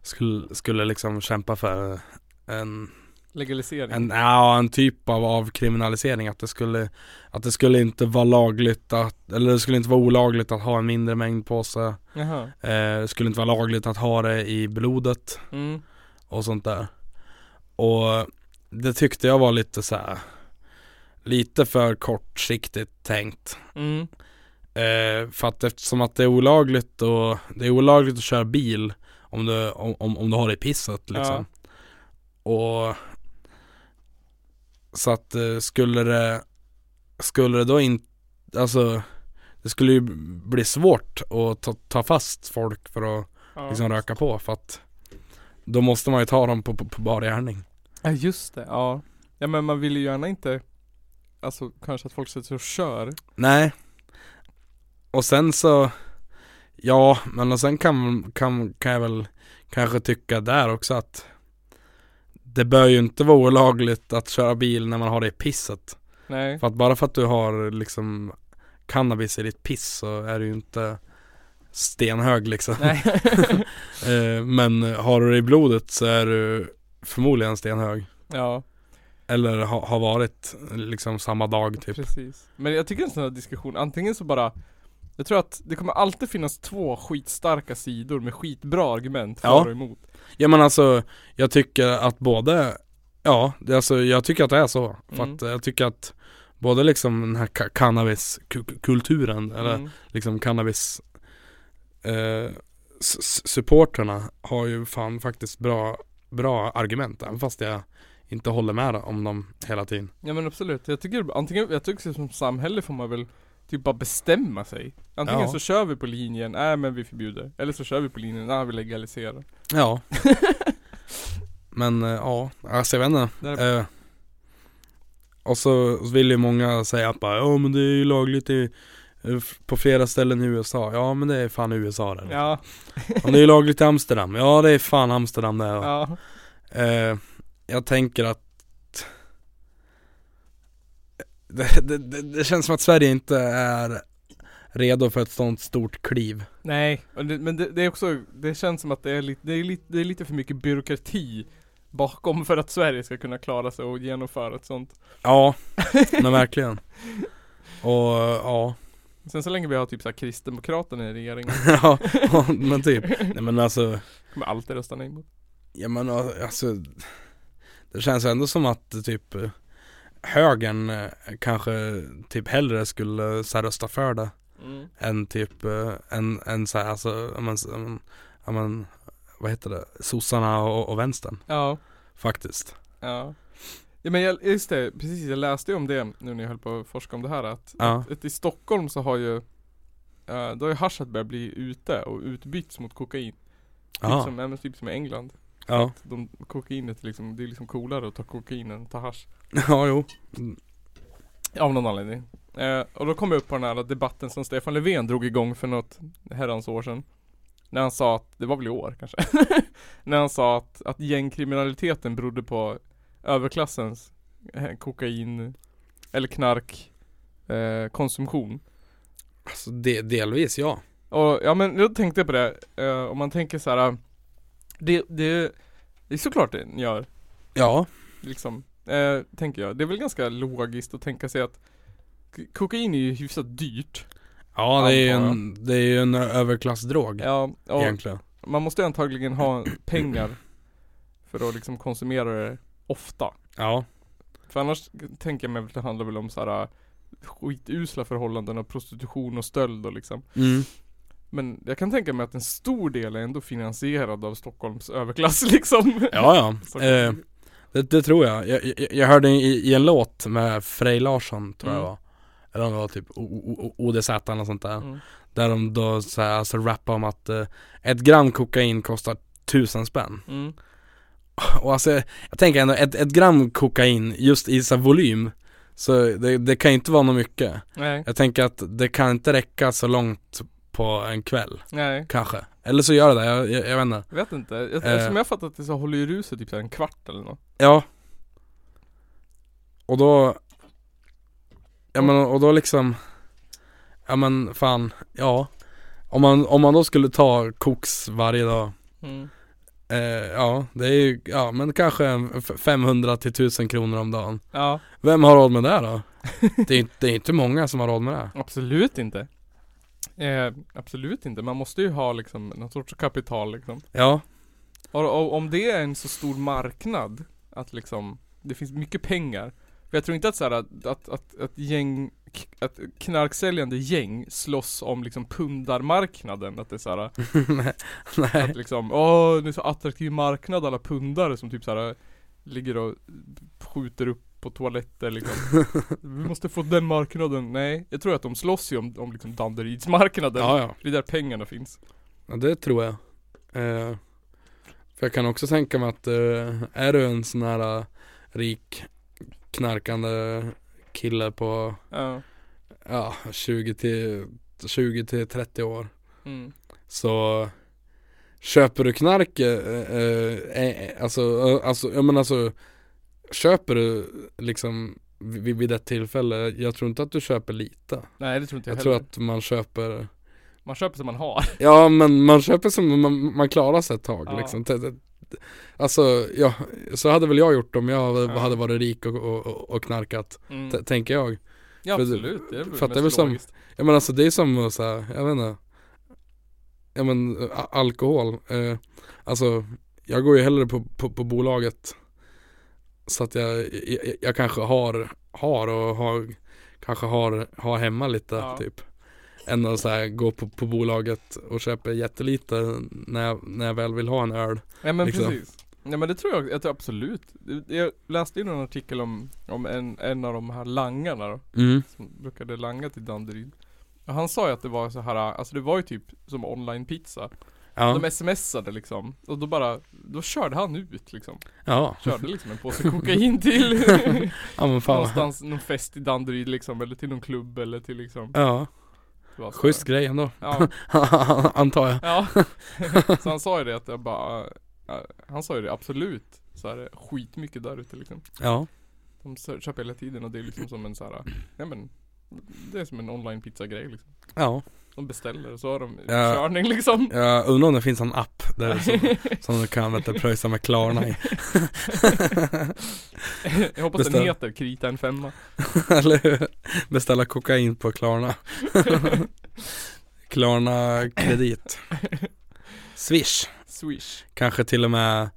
S1: skulle, skulle liksom kämpa för en,
S2: Legalisering.
S1: en, ja, en typ av avkriminalisering att det skulle att det skulle inte vara lagligt att, eller det skulle inte vara olagligt att ha en mindre mängd på sig eh,
S2: Jaha.
S1: det skulle inte vara lagligt att ha det i blodet
S2: Mm.
S1: och sånt där. Och det tyckte jag var lite så här lite för kortsiktigt tänkt.
S2: Mm.
S1: Eh, för att eftersom att det är olagligt och det är olagligt att köra bil om du, om, om, om du har det i pisset liksom. Och så att eh, skulle det, skulle det då inte, alltså det skulle ju bli svårt att ta, ta fast folk för att
S2: Ja.
S1: liksom röka på för att då måste man ju ta dem på, på, på bar gärning.
S2: Ja just det, ja. Ja men man vill ju gärna inte Alltså kanske att folk sätter sig och kör.
S1: Nej. Och sen så, ja men och sen kan, kan, kan jag väl kanske tycka där också att det bör ju inte vara olagligt att köra bil när man har det i pisset.
S2: Nej.
S1: För att bara för att du har liksom cannabis i ditt piss så är du ju inte stenhög liksom.
S2: Nej.
S1: *laughs*
S2: *laughs*
S1: Eh, men har du det i blodet så är du förmodligen stenhög.
S2: ja,
S1: Eller ha, har varit liksom samma dag typ.
S2: precis. Men jag tycker en sån här diskussion, antingen så bara Jag tror att det kommer alltid finnas två skitstarka sidor med skitbra argument för
S1: Ja.
S2: och emot.
S1: Ja men alltså, jag tycker att både, ja, det- alltså jag tycker att det är så. För
S2: Mm.
S1: att eh, jag tycker att både liksom den här ka- cannabiskulturen, eller
S2: Mm.
S1: liksom cannabis eh, s- s- supporterna har ju fan faktiskt bra, bra argument, även fast jag inte håller med om dem hela tiden.
S2: Ja men absolut, jag tycker antingen, jag tycker som samhälle får man väl typ bara bestämma sig Antingen
S1: Ja.
S2: så kör vi på linjen, nej men vi förbjuder Eller så kör vi på linjen, nej vi legaliserar
S1: Ja. *laughs* men eh, ja, alltså jag vet inte.
S2: Där,
S1: Eh, och så vill ju många säga att bara, ja men det är ju lagligt i, eh, f- på flera ställen i USA. Ja men det är fan USA där.
S2: Ja,
S1: Och det är ju lagligt i Amsterdam. Ja det är fan Amsterdam där.
S2: ja,
S1: Eh, jag tänker att det, det, det, det känns som att Sverige inte är redo för ett sånt stort kliv.
S2: nej och det, Men det, det är också, det känns som att det är, lite, det, är lite, det är lite för mycket byråkrati Bakom för att Sverige ska kunna klara sig och genomföra ett sånt
S1: Ja, men verkligen. Och ja. *laughs*
S2: Sen så länge vi har typ såhär Kristdemokraterna i regeringen
S1: ja, men typ. Nej men alltså
S2: Kommer alltid rösta nej mot
S1: Ja men a- alltså Det känns ändå som att eh, typ eh, Högern eh, kanske typ hellre skulle eh, så här, rösta för det
S2: mm.
S1: än typ eh, än, än så här, alltså, ja, men, s- ja, men, ja, men, vad heter det, sossarna och, och vänstern
S2: Ja
S1: faktiskt.
S2: Ja Ja men jag, just det, precis jag läste ju om det nu när jag höll på att forska om det här att,
S1: Ja.
S2: att, att i Stockholm så har ju eh, Då har ju haschet börjat bli ute och utbytts mot kokain typ
S1: Ja,
S2: som, ja, men typ som i England
S1: ja. *laughs*
S2: de, Kokainet är liksom, det är liksom coolare att ta kokain än att ta hasch
S1: ja jo.
S2: Av någon anledning eh, Och då kom jag upp på den här debatten som Stefan Löfven drog igång för något herrans år sedan När han sa att, det var väl i år kanske *laughs* När han sa att, att gängkriminaliteten berodde på överklassens eh, kokain eller knark eh, konsumtion
S1: Alltså, de, delvis ja.
S2: Och ja men då tänkte jag på det, eh, om man tänker så här. Det, det, det är såklart det den gör
S1: Ja,
S2: liksom, eh, tänker jag. Det är väl ganska logiskt att tänka sig att k- kokain är ju hyfsat dyrt.
S1: ja det är ju
S2: Antar jag.
S1: en, det är ju en överklassdrog
S2: Ja, och
S1: egentligen.
S2: man måste ju antagligen ha pengar för att liksom konsumera det ofta.
S1: Ja,
S2: För annars tänker jag mig att det handlar väl om så här äh, skitusla förhållanden och prostitution och stöld och liksom.
S1: mm.
S2: Men jag kan tänka mig att en stor del är ändå finansierad av Stockholms överklass *laughs* liksom.
S1: ja,
S2: Så-
S1: ja. Eh, det, det tror jag. Jag, jag, jag hörde i, i en låt med Frej Larsson tror jag
S2: Mm.
S1: var. Eller om det var typ O- O- O- ODZ eller något sånt där.
S2: Mm.
S1: Där de då så här, alltså rappar om att eh, ett gram kokain kostar tusen spänn. *laughs*
S2: Mm.
S1: Och alltså jag, jag tänker ändå ett, ett gram kokain just i så här, volym. Så det, det kan ju inte vara något mycket.
S2: Nej,
S1: Jag tänker att det kan inte räcka så långt på en kväll,
S2: nej.
S1: kanske. Eller så gör det det, jag, jag, jag vet inte.
S2: Jag vet inte. Jag,
S1: Eh.
S2: Som jag fattat det så håller ju ruset typ så här en kvart eller något.
S1: Ja. Och då, ja men och då liksom, ja men fan, ja. Om man, om man då skulle ta koks varje dag,
S2: Mm.
S1: eh, ja det är ju, ja men kanske en f- 500 till 1000 kronor om dagen.
S2: Ja,
S1: Vem har råd med det *laughs* då? Det är, ju- det är inte många som har råd med det.
S2: absolut inte. Eh, absolut inte. Man måste ju ha liksom någon sorts kapital liksom.
S1: *laughs* Ja,
S2: Och, och om det är en så stor marknad att liksom det finns mycket pengar. För jag tror inte att så här, att, att, att, att gäng, att knarksäljande gäng slåss om liksom pundarmarknaden. Att det är så här,
S1: nej, nej.
S2: att liksom, åh det är så attraktiv marknad alla pundare som typ så här ligger och skjuter upp på toaletter liksom. Vi måste få den marknaden. Nej, jag tror att de slåss ju om, om liksom Danderydsmarknaden.
S1: Ja, ja.
S2: Det är där pengarna finns.
S1: Ja det tror jag. Eh, för jag kan också tänka mig att eh, är du en sån här eh, rik knarkande kille på
S2: Ja.
S1: ja, 20 till 20 till 30 år
S2: Mm.
S1: så köper du knark, eh, eh, eh, alltså, eh, alltså, jag menar alltså köper du liksom vid, vid ett tillfälle, jag tror inte att du köper lite.
S2: Nej det tror inte jag,
S1: Jag
S2: heller.
S1: tror att man köper
S2: Man köper som man har.
S1: Ja men man köper som man, man klarar sig ett tag
S2: Ja.
S1: liksom T- t- Alltså ja, så hade väl jag gjort om jag
S2: Ja.
S1: hade varit rik och, och, och- och knarkat,
S2: Mm.
S1: t- tänker jag
S2: Ja
S1: för-
S2: absolut, det är väl
S1: fattar
S2: mest
S1: väl som-
S2: logiskt.
S1: Ja men alltså det är som att så här, jag vet inte Ja men ä, alkohol, eh, alltså jag går ju hellre på, på, på bolaget Så att jag, jag, jag kanske har, har och har, kanske har, har hemma lite
S2: Ja.
S1: typ Än att så här, gå på, på bolaget och köpa jättelite när jag, när jag väl vill ha en öl
S2: Ja men
S1: liksom.
S2: precis. Nej men det tror jag, jag tror absolut. Jag läste ju någon artikel om, om en, en av de här langarna då,
S1: Mm,
S2: som brukade langa till Danderyd. Och han sa ju att det var så här, alltså det var ju typ som online-pizza.
S1: ja,
S2: De smsade liksom, och då bara, då körde han ut liksom.
S1: ja,
S2: Körde liksom
S1: *laughs*
S2: en påse kokain till
S1: ja men fan
S2: någonstans, någon fest i Danderyd liksom, eller till någon klubb eller till liksom.
S1: Ja,
S2: det var så här.
S1: schysst grej ändå
S2: Ja,
S1: *laughs* Antar jag *laughs*
S2: Ja, så han sa ju det att jag bara äh, Han sa ju det absolut så här, skitmycket där ute liksom
S1: Ja,
S2: De sö- köper hela tiden och det är liksom som en så här, ja men Det är som en online pizza grej liksom
S1: ja
S2: De beställer och så har de
S1: Ja.
S2: körning liksom
S1: Jag undrar om det finns en app där som, som du kan vet, du, pröjsa med Klarna i *laughs*
S2: *laughs* Jag hoppas
S1: beställ.
S2: den heter Krita en femma *laughs*
S1: Eller hur? Beställa kokain på Klarna *laughs* Klarna kredit Swish
S2: Swish
S1: Kanske till och med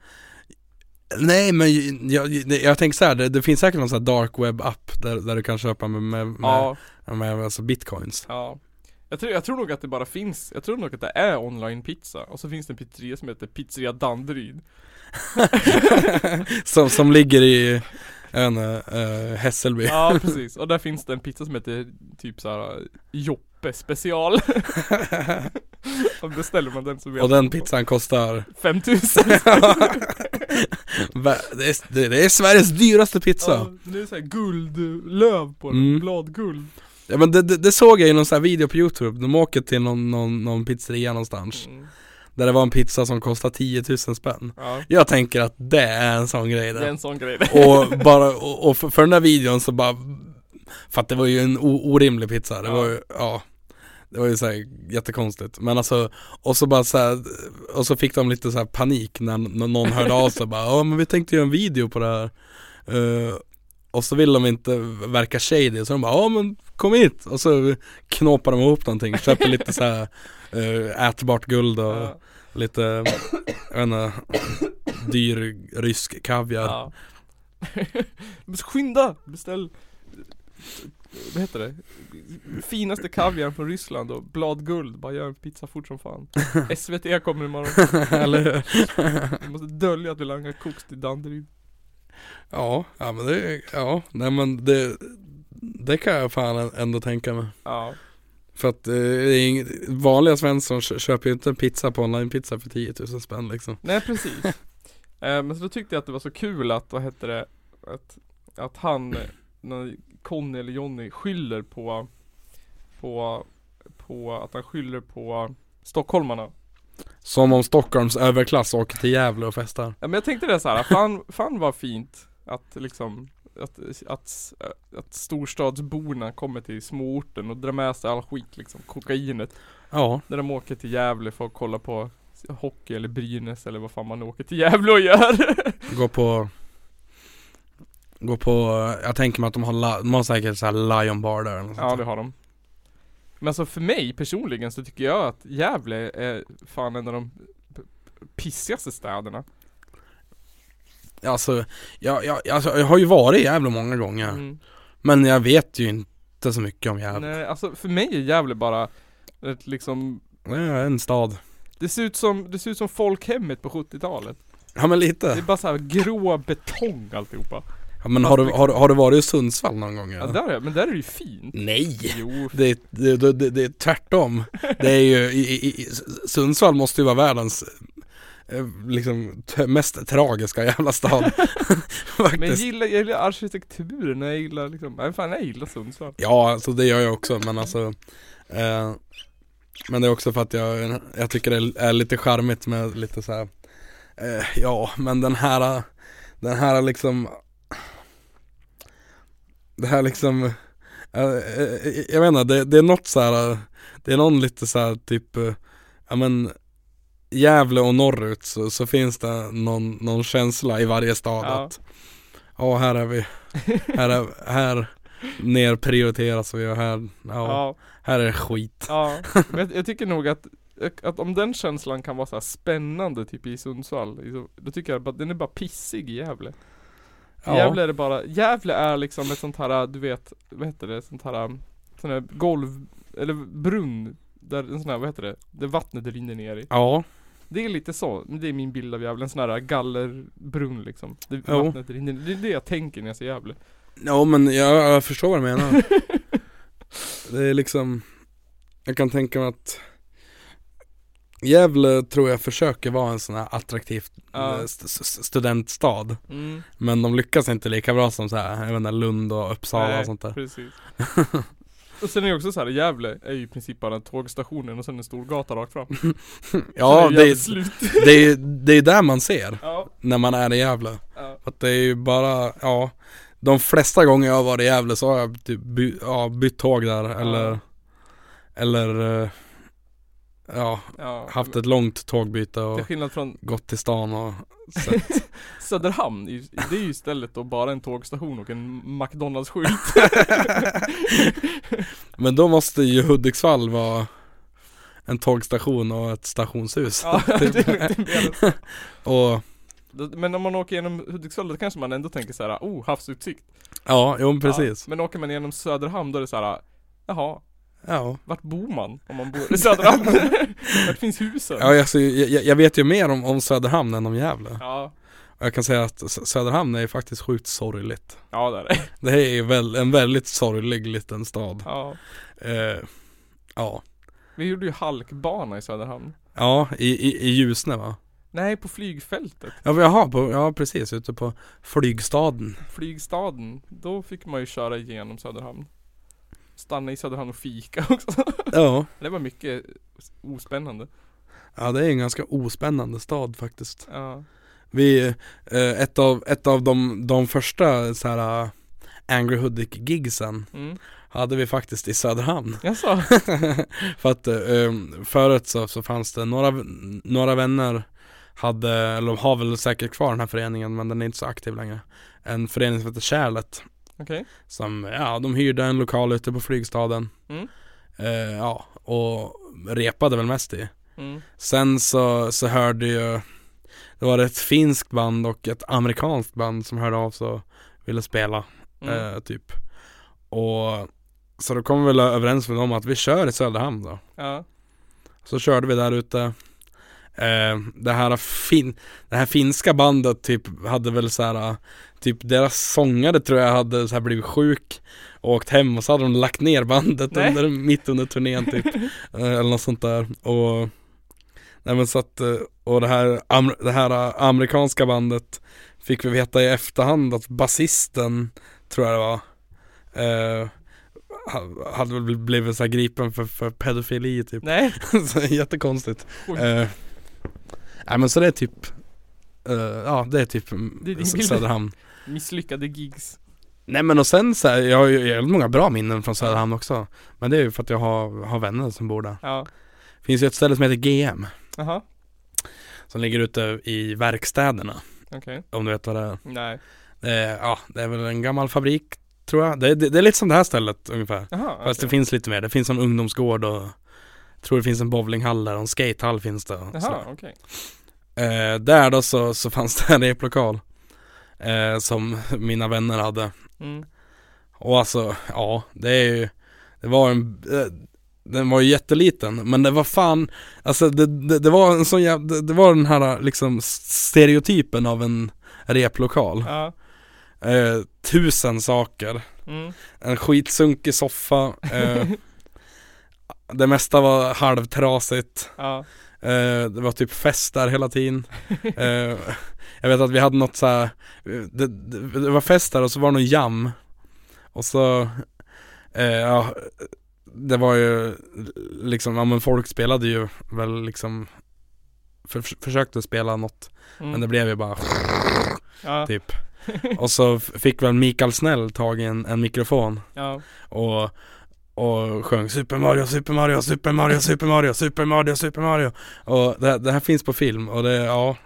S1: Nej men ju- jag, jag, jag tänker så här, det, det finns säkert någon sån här dark web app där, där du kan köpa med, med, med,
S2: Ja,
S1: med alltså bitcoins *laughs*
S2: ja jag tror, jag tror nog att det bara finns, jag tror nog att det är online pizza och så finns det en pizzeria som heter Pizzeria Danderyd
S1: som, som ligger i, eh, jag vet inte, eh, Hässelby.
S2: Ja precis, och där finns det en pizza som heter typ såhär
S1: *laughs*
S2: Joppe special Och beställer man den så vet
S1: Och den
S2: man
S1: pizzan kostar *laughs*
S2: 5000
S1: Va- det, är, det- det är Sveriges dyraste pizza
S2: Ja, det är såhär guldlöv på den,
S1: Mm.
S2: bladguld
S1: ja, men det, det, det såg jag i någon sån här video på youtube, de åker till någon, någon, någon pizzeria någonstans
S2: mm.
S1: Där det var en pizza som kostade 10 000 spänn
S2: Ja,
S1: Jag tänker att det är en sån grej
S2: det är
S1: där
S2: en sån grej *laughs*
S1: Och bara, och, och för, för den där videon så bara För att det var ju en o, orimlig pizza, det var ju, ja Det var ju såhär jättekonstigt, men alltså Och så bara såhär, och så fick de lite såhär panik när n- någon hörde av sig bara Ja men vi tänkte göra en video på det här Eh, Och så vill de inte verka shady så de bara Ja men kom hit! Och så knåpar de ihop någonting, köper lite såhär eh, ätbart guld och
S2: Ja,
S1: lite, jag vet inte, dyr rysk kaviar
S2: ja. *laughs* Men så Skynda! Beställ Vad heter det? Finaste kaviaren från Ryssland och bladguld, bara gör en pizza fort
S1: *laughs*
S2: som fan SVT kommer imorgon
S1: Eller hur?
S2: Vi måste dölja att vi langar koks till Danderyd
S1: ja, ja men det, ja, nej men det Det kan jag fan ändå tänka mig
S2: Ja,
S1: För att eh, det är inget, vanliga svensson kö- köper ju inte en pizza på onlinepizza för 10 000 spänn liksom
S2: nej precis eh, Men så då tyckte jag att det var så kul att, vad hette det Att, att han, eh, när Conny eller Jonny skyller på På, på att han skyller på Stockholmarna
S1: Som om Stockholms överklass åker till Gävle och festar
S2: Ja men jag tänkte det så här, fan, fan vad fint att liksom att, att, att storstadsborna kommer till småorten och drar med sig all skit liksom, kokainet
S1: Ja,
S2: När de åker till Gävle för att kolla på hockey eller Brynäs eller vad fan man åker till Gävle och gör.
S1: gå på Gå på, jag tänker mig att de har, la, de har säkert såhär Lion Bar där eller något
S2: ja
S1: sånt
S2: det
S1: där.
S2: har de. Men alltså för mig personligen så tycker jag att Gävle är fan en av de p- p- pissigaste städerna.
S1: Alltså, jag, jag, alltså, jag har ju varit i Gävle många gånger
S2: Mm.
S1: Men jag vet ju inte så mycket om Gävle
S2: Nej, alltså för mig är Gävle bara ett liksom
S1: Det är en stad
S2: det ser, ut som, det ser ut som folkhemmet på 70-talet.
S1: Ja men
S2: Det
S1: lite
S2: är bara så här grå betong alltihopa.
S1: Ja, men har du, har, du- har du varit i Sundsvall någon gång?
S2: Ja,
S1: eller?
S2: där är, men där är det ju fint.
S1: Nej!
S2: Jo,
S1: *laughs* Det, är- det, det, det, det är tvärtom. Det är ju, i, i, i, Sundsvall måste ju vara världens eh, liksom t- mest tragiska jävla stad. *laughs* Faktiskt.
S2: men jag gillar, jag gillar arkitekturen, jag gillar liksom, nej fan jag gillar Sundsvall.
S1: Ja, alltså det gör jag också men alltså eh, Men det är också för att jag, jag tycker det är lite charmigt med lite så här. Eh, ja, men den här Den här liksom Det här liksom eh, eh, Jag vet inte, det, det är något så här. eh, Det är någon lite så här typ eh, Ja men Gävle och norrut så, så finns det någon, någon känsla i varje stad
S2: Ja.
S1: att Ja här är vi Här, är, här nerprioriteras vi och här, ja,
S2: ja.
S1: här är det skit.
S2: Ja, men jag, jag tycker nog att, att om den känslan kan vara så här spännande typ i Sundsvall, i så- då tycker jag bara, den är bara pissig i Gävle. I
S1: Ja.
S2: Gävle är det bara, Gävle är liksom ett sånt här, du vet, vad heter det, sånt här, sån här golv, eller brunn, där en sån här, vad heter det, där vattnet rinner ner i.
S1: Ja,
S2: Det är lite så, men det är min bild av Gävle, en sån här gallerbrunn liksom. Där
S1: Jo.
S2: vattnet rinner ner. Det är det jag tänker när jag ser Gävle.
S1: ja men jag, jag förstår vad du *laughs* menar. det är liksom, jag kan tänka mig att Gävle tror jag försöker vara en sån här attraktiv
S2: Ja.
S1: eh, st- st- studentstad.
S2: Mm.
S1: Men de lyckas inte lika bra som så här, jag vet inte, Lund och Uppsala
S2: Nej,
S1: och sånt där. *laughs*
S2: precis. och sen är det också så här, Gävle är ju i princip bara en tågstation och sen en stor gata rakt fram.
S1: Ja,
S2: Sen
S1: det
S2: Gävle
S1: är,
S2: slut.
S1: det är det är där man ser
S2: Ja,
S1: när man är i Gävle.
S2: ja.
S1: För att det är ju bara, ja De flesta gånger jag har varit i Gävle så har jag typ by, ja, bytt tåg där eller Eller eh, Ja,
S2: ja.
S1: haft ett långt tågbyte och
S2: Till skillnad från
S1: gått till stan och
S2: *laughs*
S1: sett
S2: Söderhamn, i- det är ju istället då bara en tågstation och en McDonalds-skylt.
S1: *laughs* Men då måste ju Hudiksvall vara En tågstation och ett stationshus Typ.
S2: ja, *laughs* det är, det är
S1: *laughs* Och
S2: det. Men om man åker genom Hudiksvall då kanske man ändå tänker så här, oh havsutsikt.
S1: Ja, jo men precis
S2: Ja, men åker man genom Söderhamn då är det så här, jaha,
S1: Ja,
S2: vart bor man? Om man bor
S1: *laughs*
S2: i Söderhamn? vart finns husen?
S1: ja alltså, jag, jag- jag vet ju mer om, om Söderhamn än om Gävle
S2: ja.
S1: Jag kan säga att S- Söderhamn är ju faktiskt sjukt sorgligt.
S2: Ja det är det.
S1: Det är ju väl, en väldigt sorglig liten stad.
S2: Ja.
S1: Eh, ja,
S2: Vi gjorde ju halkbana i Söderhamn.
S1: ja i, i, i Ljusne va?
S2: Nej, på flygfältet.
S1: Ja, men jaha, på, ja precis, ute på flygstaden.
S2: Flygstaden. Då fick man ju köra igenom Söderhamn. Stanna i Söderhamn och fika *laughs* också.
S1: Ja.
S2: Det var mycket ospännande.
S1: ja, det är en ganska ospännande stad faktiskt.
S2: Ja.
S1: Vi, eh, ett av, ett av de, de första så här eh, Angry Hoodic-gigsen
S2: Mm.
S1: hade vi faktiskt i Söderhamn.
S2: Jaså?
S1: *laughs* För att eh, förut så, så fanns det några, v- några vänner hade, eller har väl säkert kvar den här föreningen men den är inte så aktiv längre. En förening som heter Kärlet
S2: Okej.
S1: som, ja de hyrde en lokal ute på flygstaden.
S2: Mm.
S1: Eh, ja, och repade väl mest i.
S2: Mm.
S1: Sen så, så hörde ju Det var ett finskt band och ett amerikanskt band som hörde av sig och ville spela
S2: Mm.
S1: eh, typ Och Så då kom vi väl överens med dem att vi kör i Söderhamn då
S2: Ja.
S1: Så körde vi där ute eh, det, här fin- det här finska bandet typ hade väl så här eh, Typ deras sångare tror jag hade så här blivit sjuk och Åkt hem och så hade de lagt ner bandet
S2: Nej.
S1: under, mitt under turnén typ Eh, Eller något sånt där och Nej men så att, eh, och det här, am- det här eh, amerikanska bandet Fick vi veta i efterhand att basisten Tror jag det var eh, ha- Hade väl bl- blivit så här gripen för, för pedofili typ *laughs*
S2: *laughs* Nej.
S1: så Jättekonstigt
S2: Oj.
S1: eh, Nej men så det är typ eh, Ja det är typ mm,
S2: Det är din
S1: Sö-
S2: bild.
S1: Söderhamn
S2: Misslyckade gigs.
S1: Nej men och sen så här, jag har ju jävligt många bra minnen från Söderhamn också Men det är ju för att jag har, har vänner som bor där
S2: Ja.
S1: Finns ju ett ställe som heter GM
S2: Jaha.
S1: Som ligger ute i verkstäderna
S2: Okej.
S1: Om du vet vad det är
S2: Nej.
S1: det är, Ja det är väl en gammal fabrik tror jag Det, det, det är lite som det här stället ungefär
S2: Jaha.
S1: Fast det
S2: okej.
S1: finns lite mer, det finns en ungdomsgård och jag Tror det finns en bowlinghall där och en skatehall finns det och sådär.
S2: Jaha, okej.
S1: Eh, där då så, så fanns det en replokal eh, Som mina vänner hade
S2: Mm.
S1: Och alltså, ja det är ju Det var en eh, Den var ju jätteliten men det var fan Alltså det, det, det var en sån jäv, det, det var den här liksom stereotypen av en replokal
S2: Ja.
S1: eh, Tusen saker
S2: Mm.
S1: En skitsunkig soffa eh, Det mesta var halvtrasigt
S2: Ja.
S1: Eh, det var typ fest där hela tiden. Eh, jag vet att vi hade något så här, det, det, det var fest där och så var det någon jam. Och så, eh, ja, det var ju liksom, ja men folk spelade ju väl liksom, för, försökte spela något,
S2: Mm.
S1: men det blev ju bara
S2: ja.
S1: typ. Och så f- fick väl Mikael Snäll tag i en, en mikrofon
S2: *laughs* Ja.
S1: och och sjöng Super Mario, Super Mario, Super Mario, Super Mario, Super Mario, Super Mario Och det, det här finns på film och det, ja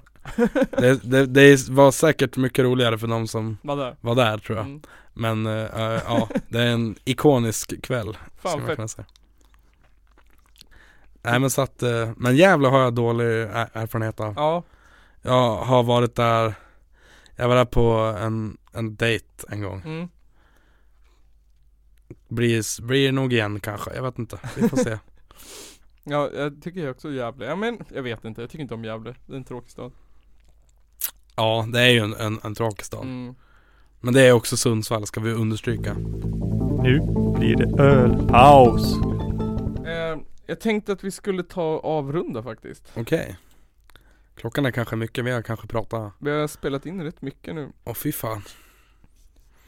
S1: det, det, det var säkert mycket roligare för de som
S2: Vadå?
S1: var där tror jag
S2: Mm.
S1: Men eh, eh, ja, det är en ikonisk kväll skulle
S2: Fan
S1: man
S2: fett.
S1: kunna säga Nej men så att, eh, men jävla har jag dålig er- erfarenhet av
S2: Ja.
S1: Jag har varit där Jag var där på en, en dejt en gång
S2: Mm.
S1: Blir, blir det nog igen kanske, jag vet inte, vi får
S2: *laughs*
S1: se
S2: Ja, jag tycker jag också Gävle. Ja men jag vet inte, jag tycker inte om Gävle. Det är en tråkig stad.
S1: Ja, det är ju en, en, en tråkig stad.
S2: Mm.
S1: Men det är också Sundsvall, ska vi understryka.
S3: Nu blir det ölpaus.
S2: Eh, jag tänkte att vi skulle ta och avrunda faktiskt.
S1: Okej. Klockan är kanske mycket, vi har kanske pratat.
S2: Vi har spelat in rätt mycket nu. Eh,
S1: Åh fy fan.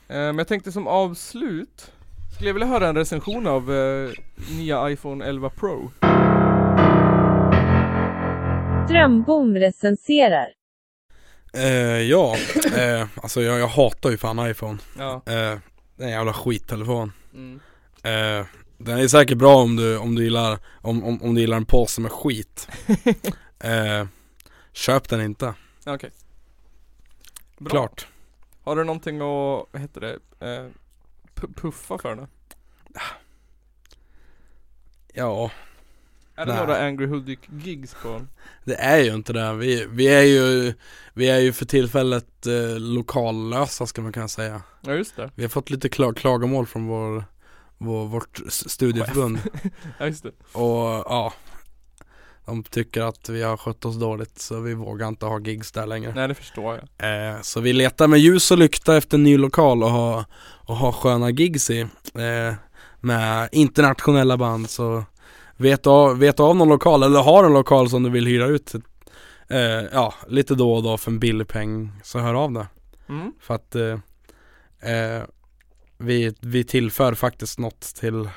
S2: men jag tänkte som avslut skulle jag vilja höra en recension av eh, nya iPhone 11 Pro.
S4: Drömbom recenserar.
S1: Eh, ja, eh, alltså jag, jag hatar ju fan iPhone.
S2: Ja.
S1: Eh, det är en jävla skittelefon.
S2: Mm.
S1: Eh, den är säkert bra om du, om du gillar, om, om, om du gillar en påse med skit. Eh, köp den inte.
S2: Ja, Okej.
S1: *laughs*
S2: Bra.
S1: Klart.
S2: Har du någonting att, vad heter det, eh, pu- puffa för då?
S1: Ja,
S2: Är det
S1: Nej.
S2: några Angry Hoodic-gigs på?
S1: det är ju inte det. Vi, vi är ju, vi är ju för tillfället eh, lokallösa ska man kunna säga.
S2: Ja just det,
S1: Vi har fått lite klag- klagomål från vår, *laughs* vår, vårt s- studieförbund
S2: ja just det.
S1: och ja De tycker att vi har skött oss dåligt så vi vågar inte ha gigs där längre.
S2: Nej det förstår jag.
S1: Eh, så vi letar med ljus och lykta efter en ny lokal och ha, och ha sköna gigs i. Eh, med internationella band så vet av, vet av någon lokal eller har en lokal som du vill hyra ut eh, ja, lite då och då för en billig peng så hör av dig.
S2: Mm.
S1: För att eh, eh, vi, vi tillför faktiskt något till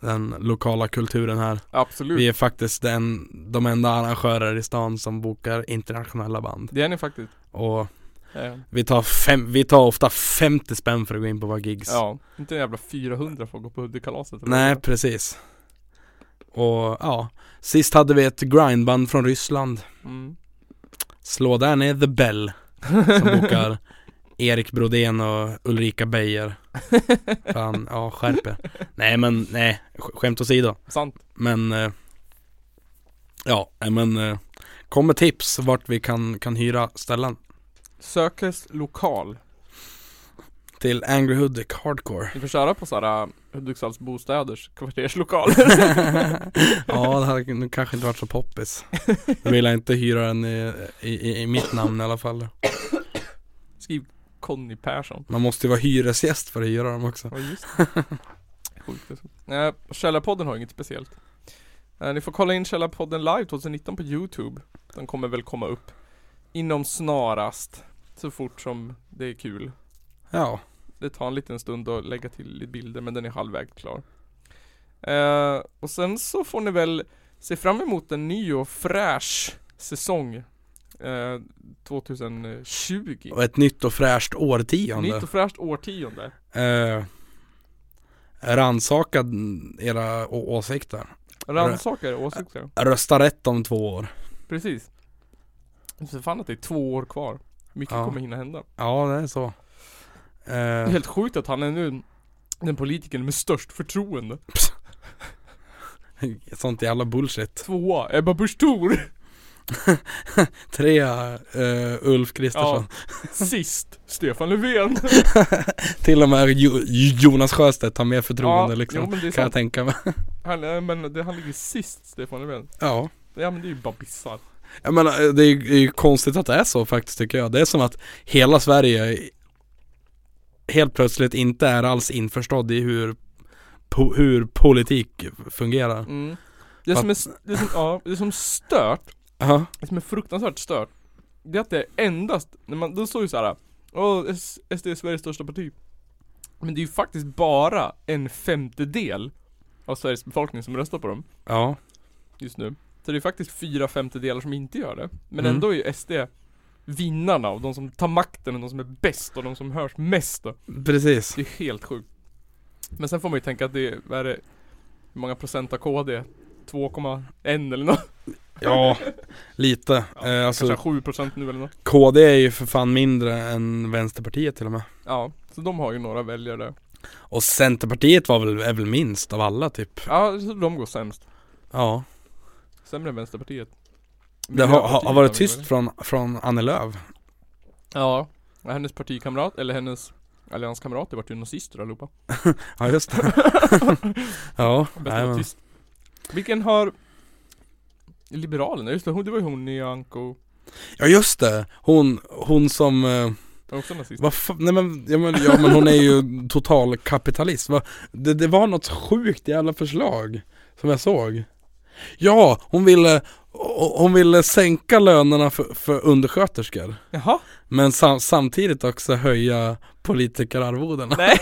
S1: den lokala kulturen här.
S2: Absolut.
S1: Vi är faktiskt den, de enda arrangörer i stan som bokar internationella band.
S2: Det är ni faktiskt.
S1: Och
S2: Eh,
S1: vi tar, fem, vi tar ofta 50 spänn för att gå in på våra gigs.
S2: ja, inte en jävla 400 för att gå på Hudikalaset. eller
S1: Nej,
S2: vad
S1: precis. Och ja, sist hade vi ett grindband från Ryssland.
S2: det är. Mm.
S1: Slå där ner The Bell som bokar Erik Brodén och Ulrika Beijer. Fan, ja skärp er. Nej men nej, sk- skämt åsido.
S2: Sant.
S1: Men eh, ja, nej, men eh, kom med tips vart vi kan, kan hyra ställen.
S2: Sökes lokal.
S1: Till Angry Hudik Hardcore.
S2: Ni får köra på såhär äh, Hudiksvalls bostäders kvarterslokaler.
S1: ja, det hade nog kanske inte varit så poppis. Jag vill inte hyra den i, i, i mitt namn i alla fall.
S2: *laughs* Skriv Conny Persson.
S1: Man måste ju vara hyresgäst för att hyra dem också.
S2: Ja just det. *laughs* Sjukt alltså. Nej, Källarpodden har inget speciellt. Eh, ni får kolla in Källarpodden live 2019 på Youtube. Den kommer väl komma upp inom snarast. Så fort som det är kul.
S1: Ja,
S2: Det tar en liten stund att lägga till lite bilder men den är halvvägs klar. Eh, och sen så får ni väl se fram emot en ny och fräsch säsong. Eh, 2020.
S1: och ett nytt och fräscht årtionde.
S2: Nytt och fräscht årtionde.
S1: Eh, Rannsaka era å- åsikter.
S2: Rannsaka era åsikter.
S1: Rösta rätt om två år.
S2: Precis. Så fan att det är två år kvar. Mycket
S1: Ja.
S2: kommer hinna hända.
S1: Ja, det är så.
S2: Det
S1: Eh,
S2: är helt sjukt att han är nu den politikern med störst förtroende.
S1: sånt jävla bullshit.
S2: Tvåa, Ebba
S1: *laughs*
S2: Busch Thor.
S1: Tre, eh, Ulf Kristersson.
S2: Ja. Sist, Stefan Löfven.
S1: Till och med jo- Jonas Sjöstedt har mer förtroende
S2: ja,
S1: liksom.
S2: Jo, men det är
S1: kan jag
S2: sant.
S1: tänka mig.
S2: Han, eh, men det, han ligger sist, Stefan Löfven.
S1: Ja.
S2: Ja men det är ju bara bissar.
S1: Jag menar, eh, det är, ju, det är ju konstigt att det är så faktiskt tycker jag. Det är som att hela Sverige helt plötsligt inte är alls införstådd i hur, po, hur politik fungerar.
S2: Mm. Det, som är, s- det, som, ja, det som stört
S1: Ja,
S2: Det som är fruktansvärt stört Det är att det är endast, när man, då står ju såhär Åh, S- SD är Sveriges största parti Men det är ju faktiskt bara en femtedel Av Sveriges befolkning som röstar på dem
S1: ja,
S2: just nu Så det är faktiskt fyra femtedelar som inte gör det Men
S1: Mm.
S2: ändå är ju SD Vinnarna och de som tar makten och de som är bäst och de som hörs mest då.
S1: precis.
S2: Det är helt sjukt Men sen får man ju tänka att det är, vad är det Hur många procent av KD? 2,1 eller något?
S1: Ja, lite. eh, alltså,
S2: Kanske 7% nu eller något
S1: KD är ju för fan mindre än Vänsterpartiet till och med.
S2: Ja, så de har ju några väljare där.
S1: Och Centerpartiet var väl, är väl minst av alla typ.
S2: Ja, så de går sämst.
S1: Ja,
S2: Sämre än Vänsterpartiet.
S1: det har, har- har varit
S2: Miljöpartiet
S1: tyst
S2: väl?
S1: från, från Annie Lööf.
S2: Ja, och hennes partikamrat, eller hennes allianskamrater vart ju nazister allihopa.
S1: Ja, just det. ja,
S2: Bäst att
S1: nej,
S2: vara
S1: men,
S2: tyst. Vilken har Liberalerna, just det, hon, det var ju hon, Nyamko,
S1: ja, just det. Hon, hon som eh,
S2: var också nazist.
S1: Vad fan, nej men, ja men, ja, men hon är ju total kapitalist. Va? Det, det var något sjukt jävla förslag som jag såg. Ja, hon ville, ho- hon ville sänka lönerna för, för undersköterskor.
S2: Jaha?
S1: Men sam, samtidigt också höja politikerarvodena.
S2: Nej!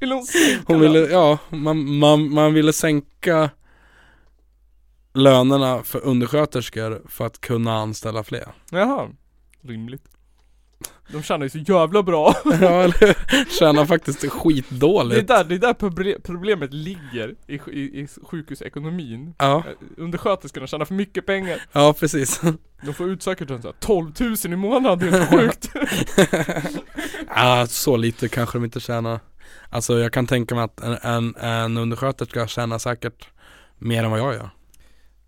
S2: Vill hon sänka
S1: Hon ville, ja, man, man, man ville sänka lönerna för undersköterskor för att kunna anställa fler.
S2: den? Jaha. Rimligt. De tjänar ju så jävla bra. *laughs*
S1: *laughs* Ja, eller hur? Tjänar faktiskt
S2: Det är
S1: skitdåligt.
S2: där, det är där proble- problemet ligger i, sj- i, i sjukhusekonomin.
S1: Ja,
S2: Eh, Undersköterskorna tjänar för mycket pengar.
S1: ja precis. *laughs*
S2: De får ut säkert en så här 12 000 i månaden, det är helt sjukt.
S1: Ja, så lite kanske de inte tjänar. Alltså jag kan tänka mig att en, en, en undersköterska tjänar säkert mer än vad jag gör.
S2: *laughs*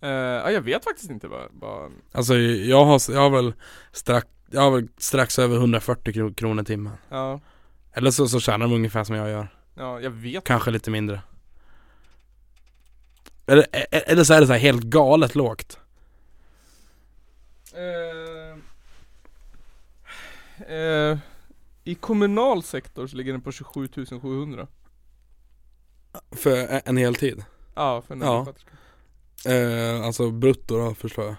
S2: Eh, ja, jag vet faktiskt inte vad, vad
S1: Alltså jag har, jag har väl strax, jag har väl strax över 140 kro- kronor timmen.
S2: ja,
S1: Eller så, så tjänar de ungefär som jag gör.
S2: ja, jag vet
S1: Kanske lite mindre. Eller, e- eller så är det så här helt galet lågt.
S2: Eh, eh, I kommunal sektor så ligger den på 27 700.
S1: För e- en hel tid.
S2: Ja, för en
S1: Ja.
S2: undersköterska.
S1: Eh, alltså brutto då förstår jag.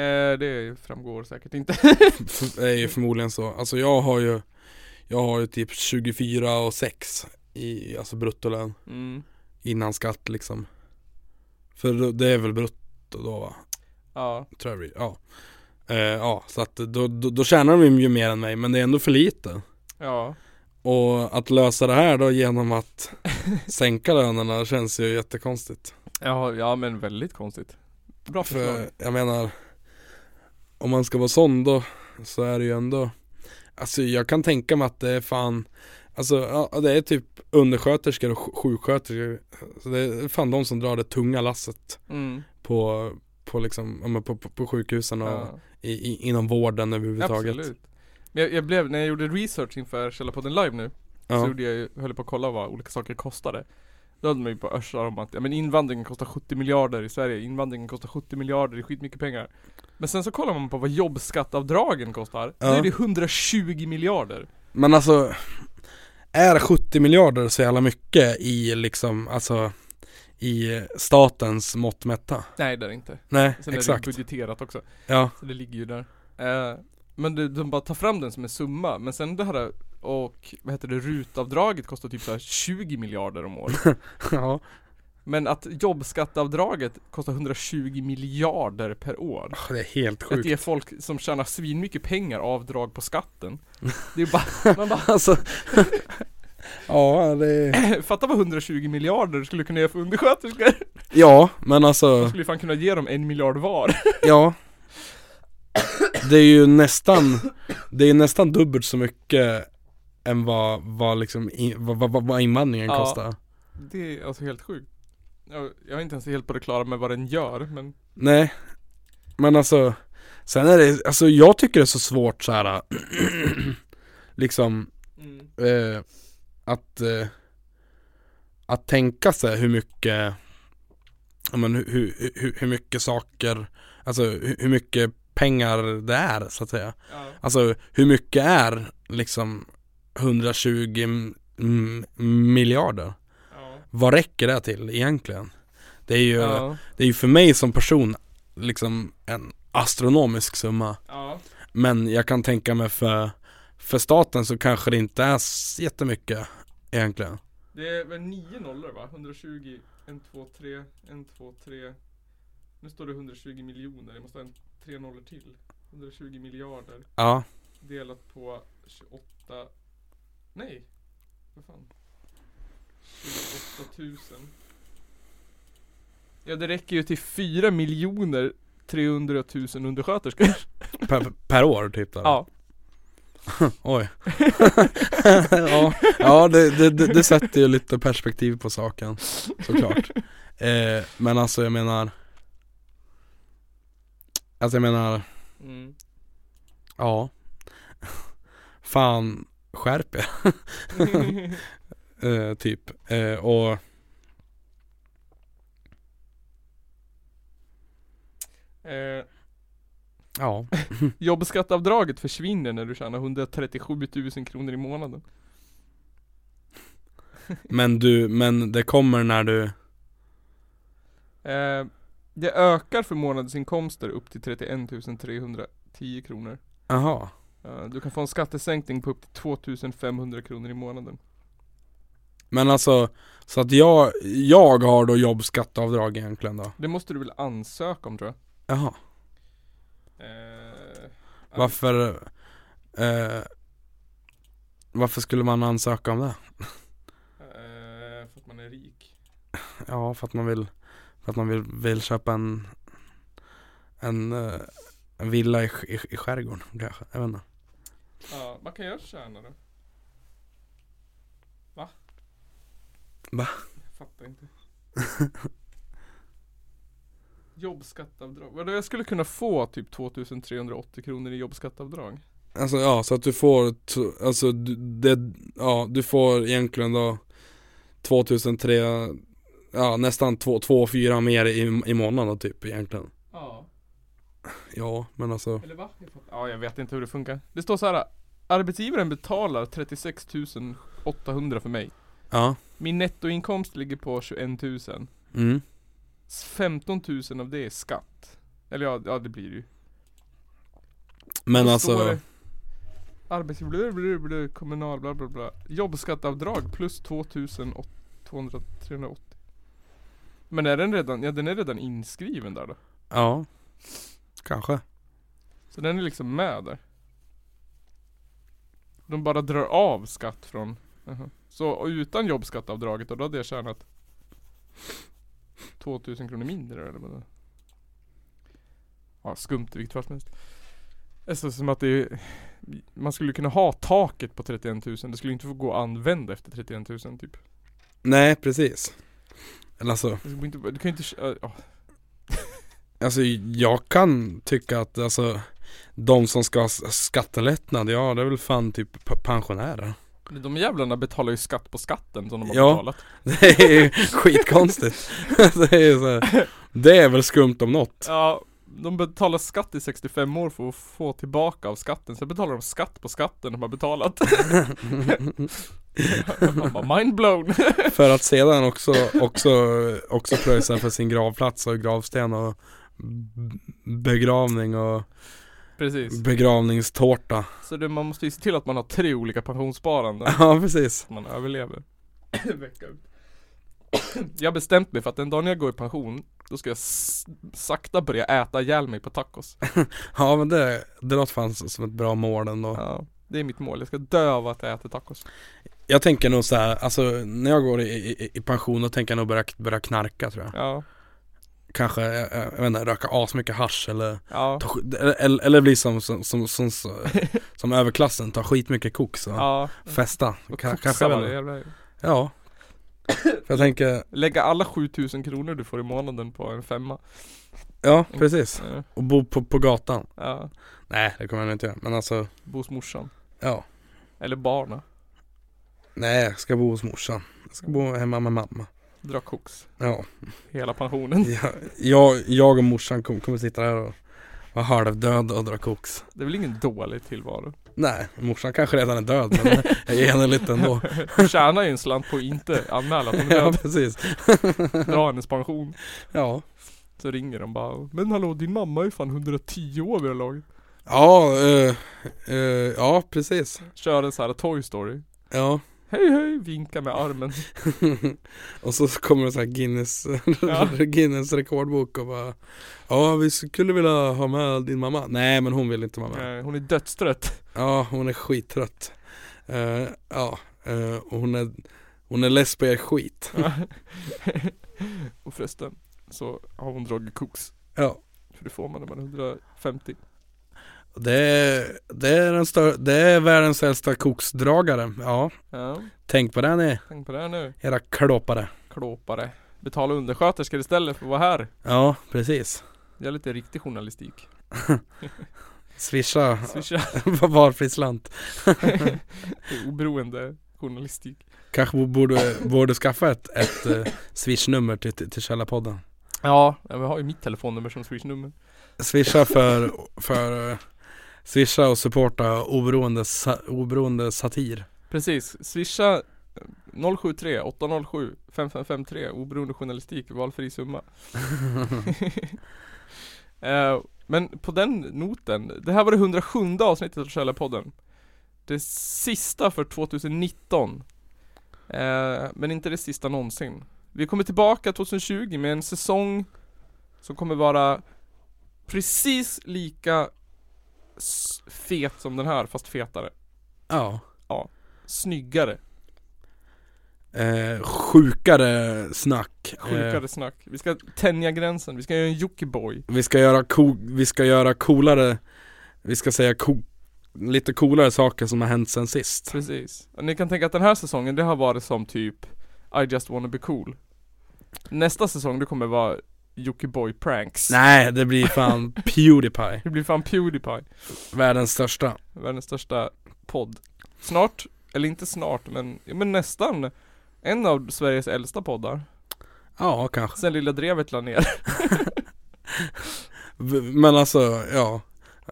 S2: Eh, det framgår säkert inte. *laughs*
S1: F- är ju förmodligen så. Alltså jag har ju Jag har ju typ 24 och 6 i alltså bruttolön
S2: Mm.
S1: innan skatt liksom. För då- det är väl brutto då va?
S2: Ja,
S1: Tror jag det blir. Ja. Eh, ja, så att då, då, då tjänar de ju mer än mig men det är ändå för lite.
S2: ja.
S1: Och att lösa det här då genom att sänka lönerna känns ju jättekonstigt.
S2: Ja, ja men väldigt konstigt. Bra förslag.
S1: För jag menar Om man ska vara sån då Så är det ju ändå Alltså jag kan tänka mig att det är fan Alltså ja, det är typ undersköterskor och sj- sjuksköterskor så Det är fan de som drar det tunga lasset
S2: Mm.
S1: På, på liksom, ja, men på, på, på sjukhusen och
S2: Ja.
S1: i, i, inom vården överhuvudtaget
S2: Absolut. Men jag, jag blev, när jag gjorde research inför Källarpodden live nu, så
S1: ja.
S2: gjorde jag, ju- höll jag på att kolla vad olika saker kostade. Då hade man ju på örsar om att, ja men invandringen kostar 70 miljarder i Sverige, invandringen kostar 70 miljarder, det är skitmycket pengar. Men sen så kollar man på vad jobbskattavdragen kostar, då
S1: Ja.
S2: är det 120 miljarder.
S1: Men alltså Är 70 miljarder så jävla mycket i liksom, alltså I statens mått mätta?
S2: Nej det är det inte.
S1: Nej,
S2: Sen
S1: exakt
S2: är det ju budgeterat också,
S1: Ja, *laughs*
S2: så det ligger ju där. Eh, men det, de bara tar fram den som en summa, men sen det här och vad heter det, rutavdraget kostar typ så här 20 miljarder
S1: *laughs*
S2: om året.
S1: ja
S2: Men att jobbskattavdraget kostar 120 miljarder per år.
S1: Ah, Det är helt
S2: Att
S1: sjukt.
S2: ge folk som tjänar svinmycket pengar avdrag på *laughs* skatten. Det är bara, man bara,
S1: Alltså, *laughs* ja det är...
S2: *clears throat* fatta vad 120 miljarder skulle kunna göra för undersköterskor.
S1: Ja, men
S2: Man
S1: alltså,
S2: skulle ju fan kunna ge dem en miljard var.
S1: ja. Det är ju nästan, det är nästan dubbelt så mycket än vad, vad liksom, i- vad, vad, vad invandringen
S2: Ja.
S1: kostar.
S2: Det är alltså helt sjukt. Jag, jag är inte ens helt på det klara med vad den gör, men
S1: Nej, men alltså, sen är det, alltså jag tycker det är så svårt så här *clears throat* liksom
S2: mm,
S1: eh, att, eh, att tänka sig hur mycket, ja, men, hur, hur, hur- hur mycket saker, alltså hur, hur mycket pengar det är så att säga.
S2: ja.
S1: Alltså hur mycket är liksom 120 m- miljarder?
S2: Ja.
S1: Vad räcker det till egentligen? Det är ju,
S2: Ja.
S1: det är ju för mig som person liksom en astronomisk summa.
S2: ja.
S1: Men jag kan tänka mig för, för staten så kanske det inte är s- jättemycket egentligen.
S2: Det är väl nio nollor va? 120, 1, 2, 3, 1, 2, 3 Nu står det 120 miljoner, jag måste ha en tre nollor till 120 miljarder
S1: Ja,
S2: delat på 28 Nej, vad fan 28 000 Ja det räcker ju till 4 miljoner 300 000 undersköterskor
S1: per, per år typ där.
S2: Ja,
S1: *laughs* Oj. *laughs* ja, ja det, det, det, det sätter ju lite perspektiv på saken såklart. Eh, men alltså jag menar Alltså jag menar,
S2: mm. *laughs*
S1: ja. *laughs* Fan, skärp er. eh, typ. Eh, och
S2: eh,
S1: ja.
S2: Jobbskatteavdraget försvinner när du tjänar 137 000 kronor i månaden
S1: Men du, men det kommer när du,
S2: Eh, det ökar för månadsinkomster upp till 31 310 kronor.
S1: aha.
S2: Eh, du kan få en skattesänkning på upp till 2500 kronor i månaden.
S1: Men alltså, så att jag, jag har då jobbskatteavdrag egentligen då?
S2: Det måste du väl ansöka om tror jag.
S1: Jaha,
S2: Eh,
S1: varför eh, Varför skulle man ansöka om det?
S2: eh, för att man är rik.
S1: Ja, för att man vill För att man vill, vill köpa en En, eh, en villa i, sk- i, i skärgården kanske, jag vet inte
S2: Ja, vad kan jag tjäna då? Va?
S1: Va?
S2: Jag fattar inte. jobbskatteavdrag. Vadå jag skulle kunna få typ 2380 kronor i jobbskatteavdrag?
S1: Alltså ja, så att du får, t- alltså du, det, ja du får egentligen då 2300 ja, nästan 2-4 mer i, i månaden typ egentligen
S2: Ja.
S1: Ja, men alltså
S2: Eller va? Jag fattar- Ja, jag vet inte hur det funkar. Det står så här. Arbetsgivaren betalar 36 800 för mig.
S1: Ja,
S2: Min nettoinkomst ligger på 21 000.
S1: mm,
S2: 15 000 av det är skatt. Eller ja, ja det blir det ju.
S1: men
S2: Då
S1: alltså
S2: står det, Arbetsgivare, blu, blu, blu, kommunal, bla bla bla. Jobbskatteavdrag plus 2 200, 380. Men är den redan, ja den är redan inskriven där då.
S1: Ja Kanske
S2: Så den är liksom med där. De bara drar av skatt från Jaha. Så utan jobbskatteavdraget då, då hade jag tjänat 2000 kronor mindre eller vad det Ja skumt i vilket fall som helst. Det är så som att det är, Man skulle kunna ha taket på 31 000, det skulle inte få gå att använda efter 31 000 typ.
S1: Nej precis Eller alltså
S2: Det skulle inte, du kan ju inte, kö- ja.
S1: Alltså jag kan tycka att alltså de som ska ha s- skattelättnad, ja det är väl fan typ p- pensionärer. *laughs*
S2: De jävlarna betalar ju skatt på skatten som de har
S1: Ja.
S2: betalat.
S1: Det är ju skitkonstigt. *laughs* det, är ju så här, det är väl skumt om något.
S2: Ja, de betalar skatt i 65 år för att få tillbaka av skatten. Sen betalar de skatt på skatten de
S1: *laughs*
S2: har betalat. Man bara mind blown.
S1: För att sedan också, också, också pröjsa för sin gravplats och gravsten och b- begravning och
S2: Precis.
S1: begravningstårta. *laughs*
S2: Så det, man måste ju se till att man har tre olika pensionssparanden.
S1: Ja precis.
S2: Att man överlever. Vecka ut. Jag har bestämt mig för att den dagen jag går i pension, då ska jag s- sakta börja äta ihjäl mig på tacos.
S1: Ja men det, det låter fan som ett bra mål ändå.
S2: Ja, det är mitt mål. Jag ska dö av att jag äter tacos.
S1: Jag tänker nog så här, alltså när jag går i, i, i pension då tänker jag nog börja, börja knarka tror jag.
S2: Ja,
S1: Kanske, jag, jag vet inte, röka asmycket hasch eller,
S2: ja,
S1: ta, sk- eller, eller bli som, som, som,
S2: *laughs*
S1: som, som, som överklassen, ta skitmycket koks och
S2: ja.
S1: festa.
S2: Och
S1: Ka,
S2: koxa
S1: kanske
S2: varje
S1: väl.
S2: jävla-
S1: Ja. För jag tänker,
S2: Lägga alla 7000 kronor du får i månaden på en femma.
S1: ja precis.
S2: Ja,
S1: Och bo på, på gatan.
S2: Ja,
S1: Nej det kommer jag nog inte göra, men alltså,
S2: bo hos morsan.
S1: ja.
S2: Eller barna.
S1: Nej jag ska bo hos morsan. Jag ska bo hemma med mamma.
S2: Dra koks.
S1: Ja.
S2: Hela pensionen.
S1: Jag, jag, jag och morsan kom- kommer sitta där och vara halvdöda och dra koks.
S2: Det är väl ingen dålig tillvaro.
S1: Nej, morsan kanske redan är död men jag ger henne lite
S2: *laughs*
S1: ändå
S2: Tjänar ju en slant på att inte anmäla att
S1: *laughs*
S2: de
S1: Ja
S2: död.
S1: *laughs* precis,
S2: Dra hennes pension.
S1: ja
S2: Så ringer de bara Men hallå din mamma är ju fan 110 år vid det här laget.
S1: Ja, eh, eh, ja precis
S2: Kör en sån här Toy Story.
S1: Ja *laughs*
S2: Hej hej, vinka med armen.
S1: Och så kommer det så här Guinness,
S2: Ja.
S1: *laughs* Guinness rekordbok och bara Ja vi skulle vilja ha med din mamma Nej men hon vill inte vara med
S2: Eh, Hon är dödstrött. *laughs*
S1: Ja hon är skittrött Eh, Ja, eh, och hon är hon är less på er skit
S2: Och förresten så har hon dragit koks.
S1: Ja
S2: För det får man när man är 150.
S1: Det är, det är, den stör, det är världens äldsta koksdragare Ja,
S2: Ja,
S1: tänk på det ni
S2: tänk på det här nu.
S1: Era klåpare.
S2: klåpare. Betala undersköterskor istället för att vara här.
S1: Ja, precis.
S2: Det är lite riktig journalistik.
S1: Swisha *laughs*
S2: *laughs* Swisha.
S1: på valfri slant.
S2: Det är Oberoende journalistik.
S1: Kanske bo- borde, borde skaffa ett, ett eh, swishnummer till, till, till Källarpodden.
S2: Ja, vi har ju mitt telefonnummer som swishnummer.
S1: Swisha för, för eh, Swisha och supporta oberoende, sa, oberoende satir.
S2: Precis, swisha 073 807 5553 oberoende journalistik, valfri summa. Eh, Men på den noten, det här var det 107 avsnittet av Källarpodden. Det sista för 2019. Eh, Men inte det sista någonsin. Vi kommer tillbaka 2020 med en säsong som kommer vara precis lika s- fet som den här, fast fetare.
S1: Ja.
S2: Snyggare.
S1: Eh, sjukare snack. Eh,
S2: Sjukare snack. Vi ska tänja gränsen, vi ska göra en Jockiboi.
S1: vi, ska göra co- vi ska göra coolare, vi ska säga co- lite coolare saker som har hänt sen sist.
S2: Precis. Och ni kan tänka att den här säsongen, det har varit som typ I just wanna be cool. Nästa säsong, det kommer vara Jockiboi pranks.
S1: Nej, det blir fan Pewdiepie.
S2: Det blir fan Pewdiepie.
S1: Världens största.
S2: Världens största podd. Snart, eller inte snart, men, men nästan. En av Sveriges äldsta poddar.
S1: Ja, kanske.
S2: Sen lilla drevet la ner. *laughs*
S1: V- Men alltså, ja.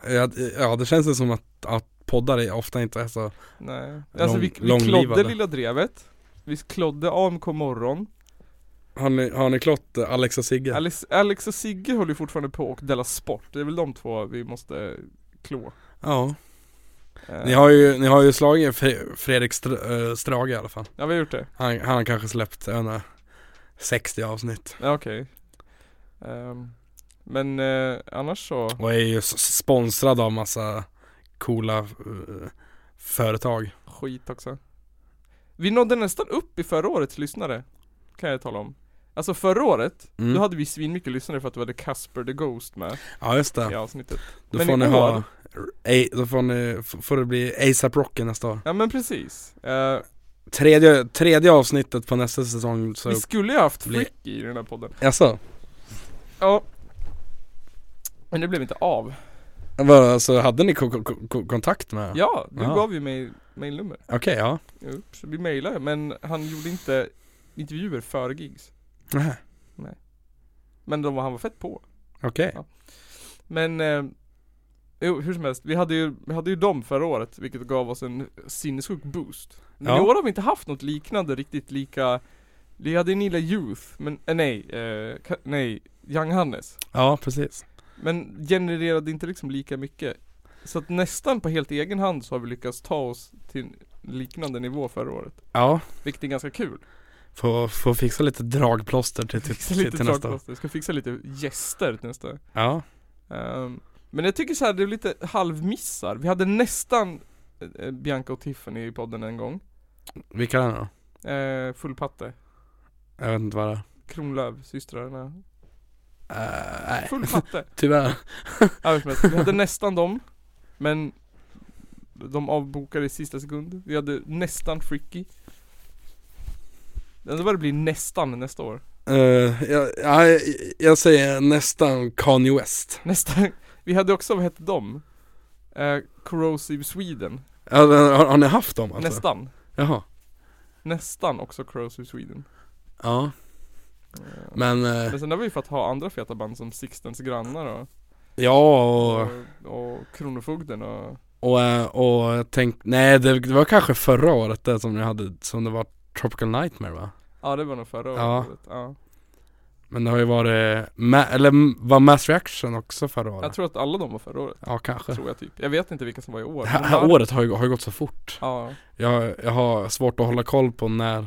S1: Ja, d- ja det känns ju som att, att poddar är ofta inte är så.
S2: Nej. Alltså vi, vi
S1: långlivade.
S2: klodde lilla drevet. Vi klodde AMK morgon.
S1: Har ni, har ni klott eh, Alex och Sigge?
S2: Alex, Alex och Sigge håller ju fortfarande på och Della Sport. Det är väl de två vi måste klå.
S1: ja.
S2: Eh,
S1: Ni har ju, ni har ju slagit Fre- Fredrik Str- eh, Strage i alla fall.
S2: Ja vi har gjort det.
S1: Han, han har kanske släppt, jag vet inte, 60 avsnitt.
S2: Ja okej. Ehm, men eh, annars så.
S1: Och är ju s- sponsrad av massa coola eh, företag.
S2: skit också. Vi nådde nästan upp i förra årets lyssnare. Kan jag tala om. Alltså förra året,
S1: Mm.
S2: då hade vi svinmycket lyssnare för att vi hade Casper the Ghost med
S1: Ja just det.
S2: i avsnittet.
S1: Då
S2: Men
S1: får
S2: i
S1: ni ha,
S2: år-
S1: ej, då får ni, f- får det bli ASAP Rocky nästa år.
S2: Ja men precis. Eh,
S1: Tredje, tredje avsnittet på nästa säsong så,
S2: vi skulle ju haft
S1: blir-
S2: Frick i den här podden.
S1: jaså?
S2: Ja. Men det blev inte av.
S1: Vadå, Så alltså, hade ni ko- ko- ko- kontakt med?
S2: Ja, du
S1: Ja. Ah.
S2: gav ju mig mailnummer.
S1: Okej, ja.
S2: Jo, så vi mailade men han gjorde inte intervjuer före gigs.
S1: Nähä,
S2: Men de, var- han var fett på.
S1: Okej.
S2: Ja. Men eh, jo, hur som helst, vi hade, ju, vi hade ju dem förra året vilket gav oss en sinnessjuk boost. Men
S1: Ja.
S2: i år har vi inte haft något liknande riktigt lika Vi hade Nilla Youth, men eh, nej, eh, ka- nej, Young Hannes.
S1: Ja, precis.
S2: Men genererade inte liksom lika mycket. Så att nästan på helt egen hand så har vi lyckats ta oss till en liknande nivå förra året.
S1: Ja,
S2: Vilket är ganska kul.
S1: får, får fixa lite dragplåster till, till,
S2: *laughs* Fixa
S1: till,
S2: lite
S1: till nästa år.
S2: dragplåster, ska fixa lite gäster till nästa.
S1: Ja,
S2: Ehm, men jag tycker så här, det är lite halvmissar. Vi hade nästan eh, Bianca och Tiffany i podden en gång.
S1: vilka är det då?
S2: Eh, Fullpatte,
S1: Jag vet inte vad det är.
S2: Kronlöf, systrarna.
S1: Eh, nej, *laughs*
S2: Fullpatte.
S1: tyvärr.
S2: Ja, hur som helst, vi hade nästan dem, men de avbokade i sista sekund. Vi hade nästan Fricky. Undrar vad det blir nästan nästa år.
S1: Eh, jag, jag, jag säger nästan Kanye West.
S2: Nästan. *laughs* Vi hade också, vad hette de? Eh, Corrosive Sweden.
S1: Ja, men Har, har ni haft dem alltså?
S2: Nästan.
S1: Jaha.
S2: Nästan också Corrosive Sweden.
S1: Ja,
S2: Eh,
S1: men eh,
S2: Men sen har vi ju fått ha andra feta band som Sixtens grannar och,
S1: ja och,
S2: och, och Kronofogden och
S1: och, eh, och jag tänk, nej det, det var kanske förra året det som ni hade, som det var Tropical Nightmare va?
S2: Ja det var nog förra
S1: Ja.
S2: året ja.
S1: Men det har ju varit, ma- eller m- var Mass Reaction också förra året?
S2: Jag tror att alla de var förra året,
S1: ja kanske.
S2: tror jag typ Jag vet inte vilka som var i år
S1: Det
S2: men
S1: här
S2: var-
S1: året har ju, har ju gått så fort.
S2: Ja,
S1: Jag, jag har svårt att hålla koll på när,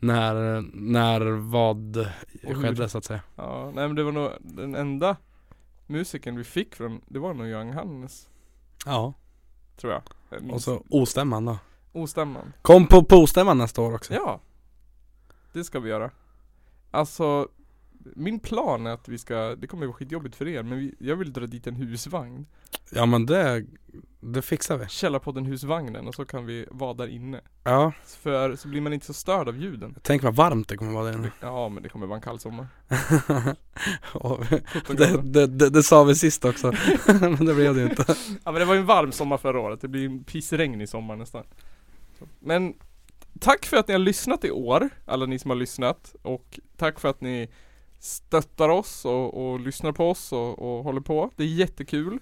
S1: när, när vad
S2: Och hur-
S1: skedde så att säga.
S2: ja, nej men det var nog den enda musiken vi fick från, det var nog Young Hannes
S1: Ja.
S2: Tror jag Jag minns-
S1: Och så ostämman då.
S2: Ostämman
S1: Kom på postämman nästa år också.
S2: Ja Det ska vi göra Alltså min plan är att vi ska, det kommer ju vara skitjobbigt för er men vi, jag vill dra dit en husvagn
S1: Ja men det, det fixar vi.
S2: Källarpodden husvagnen och så kan vi vara där inne
S1: Ja.
S2: För så blir man inte så störd av ljuden.
S1: Tänk vad varmt det kommer vara där *laughs* inne.
S2: Ja men det kommer vara en kall sommar.
S1: Och-
S2: Sjutton
S1: det,
S2: grader.
S1: det, det, det sa vi sist *laughs* också. men det blev det ju inte.
S2: Ja men det var ju en varm sommar förra året, det blir en pissregn i sommar nästan. Men tack för att ni har lyssnat i år, alla ni som har lyssnat. Och tack för att ni stöttar oss och, och lyssnar på oss och, och håller på. Det är jättekul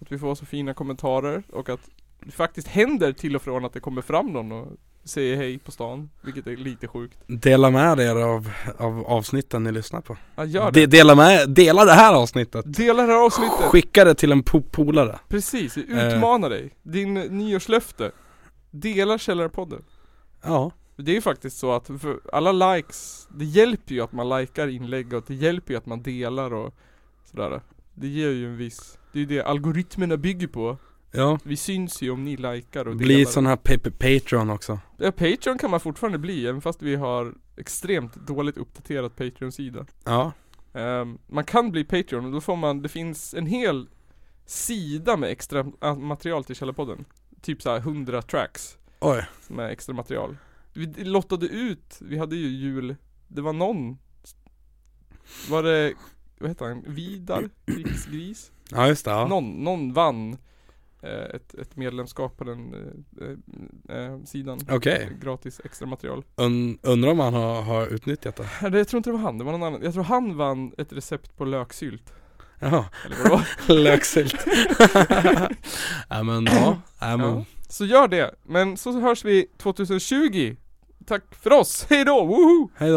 S2: att vi får så fina kommentarer och att det faktiskt händer till och från att det kommer fram någon och säger hej på stan, vilket är lite sjukt.
S1: Dela med er av, av avsnitten ni lyssnar på.
S2: Ja gör
S1: De,
S2: det.
S1: dela, med, dela det här avsnittet.
S2: Dela det här avsnittet!
S1: Skicka det till en po- polare.
S2: Precis, utmana dig. Din nyårslöfte. Dela Källarpodden.
S1: Ja.
S2: Det är ju faktiskt så att för alla likes, det hjälper ju att man likar inlägg och det hjälper ju att man delar och sådär. Det ger ju en viss, det är ju det algoritmerna bygger på.
S1: Ja.
S2: Vi syns ju om ni likar och
S1: Bli
S2: delar.
S1: sån här pe- pe- Patreon också.
S2: Ja, Patreon kan man fortfarande bli, även fast vi har extremt dåligt uppdaterat Patreon-sida.
S1: Ja.
S2: Ehm, man kan bli Patreon och då får man, det finns en hel sida med extra äh, material till Källarpodden. Typ såhär 100 tracks
S1: Oj.
S2: med extra material. Vi d- lottade ut, vi hade ju jul, det var någon Var det, vad heter han, Vidar, Riksgris?
S1: Ja just det. Ja.
S2: Någon, någon vann eh, ett, ett medlemskap på den eh, eh, sidan.
S1: Okej.
S2: Gratis extra material.
S1: Und, undrar om han har, har utnyttjat det.
S2: Nej, det- Jag tror inte det var han, det var någon annan. Jag tror han vann ett recept på löksylt.
S1: Jaha,
S2: Eller vad det var.
S1: löksylt. Nej men *laughs* ja, nej men.
S2: Ja. Så gör det. Men så hörs vi 2020. Tack för oss. Hej då! Woho!
S1: Hej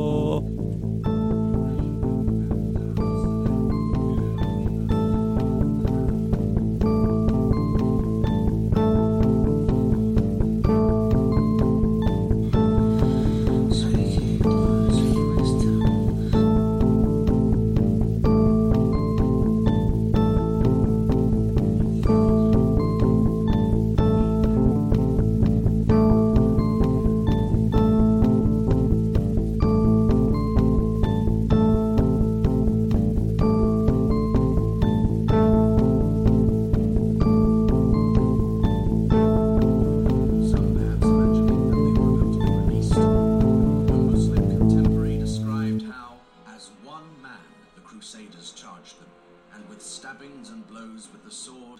S1: då!
S5: Some bands mentioning that they were about to be released. A Muslim contemporary described how, as one man, the Crusaders charged them, and with stabbings and blows with the sword,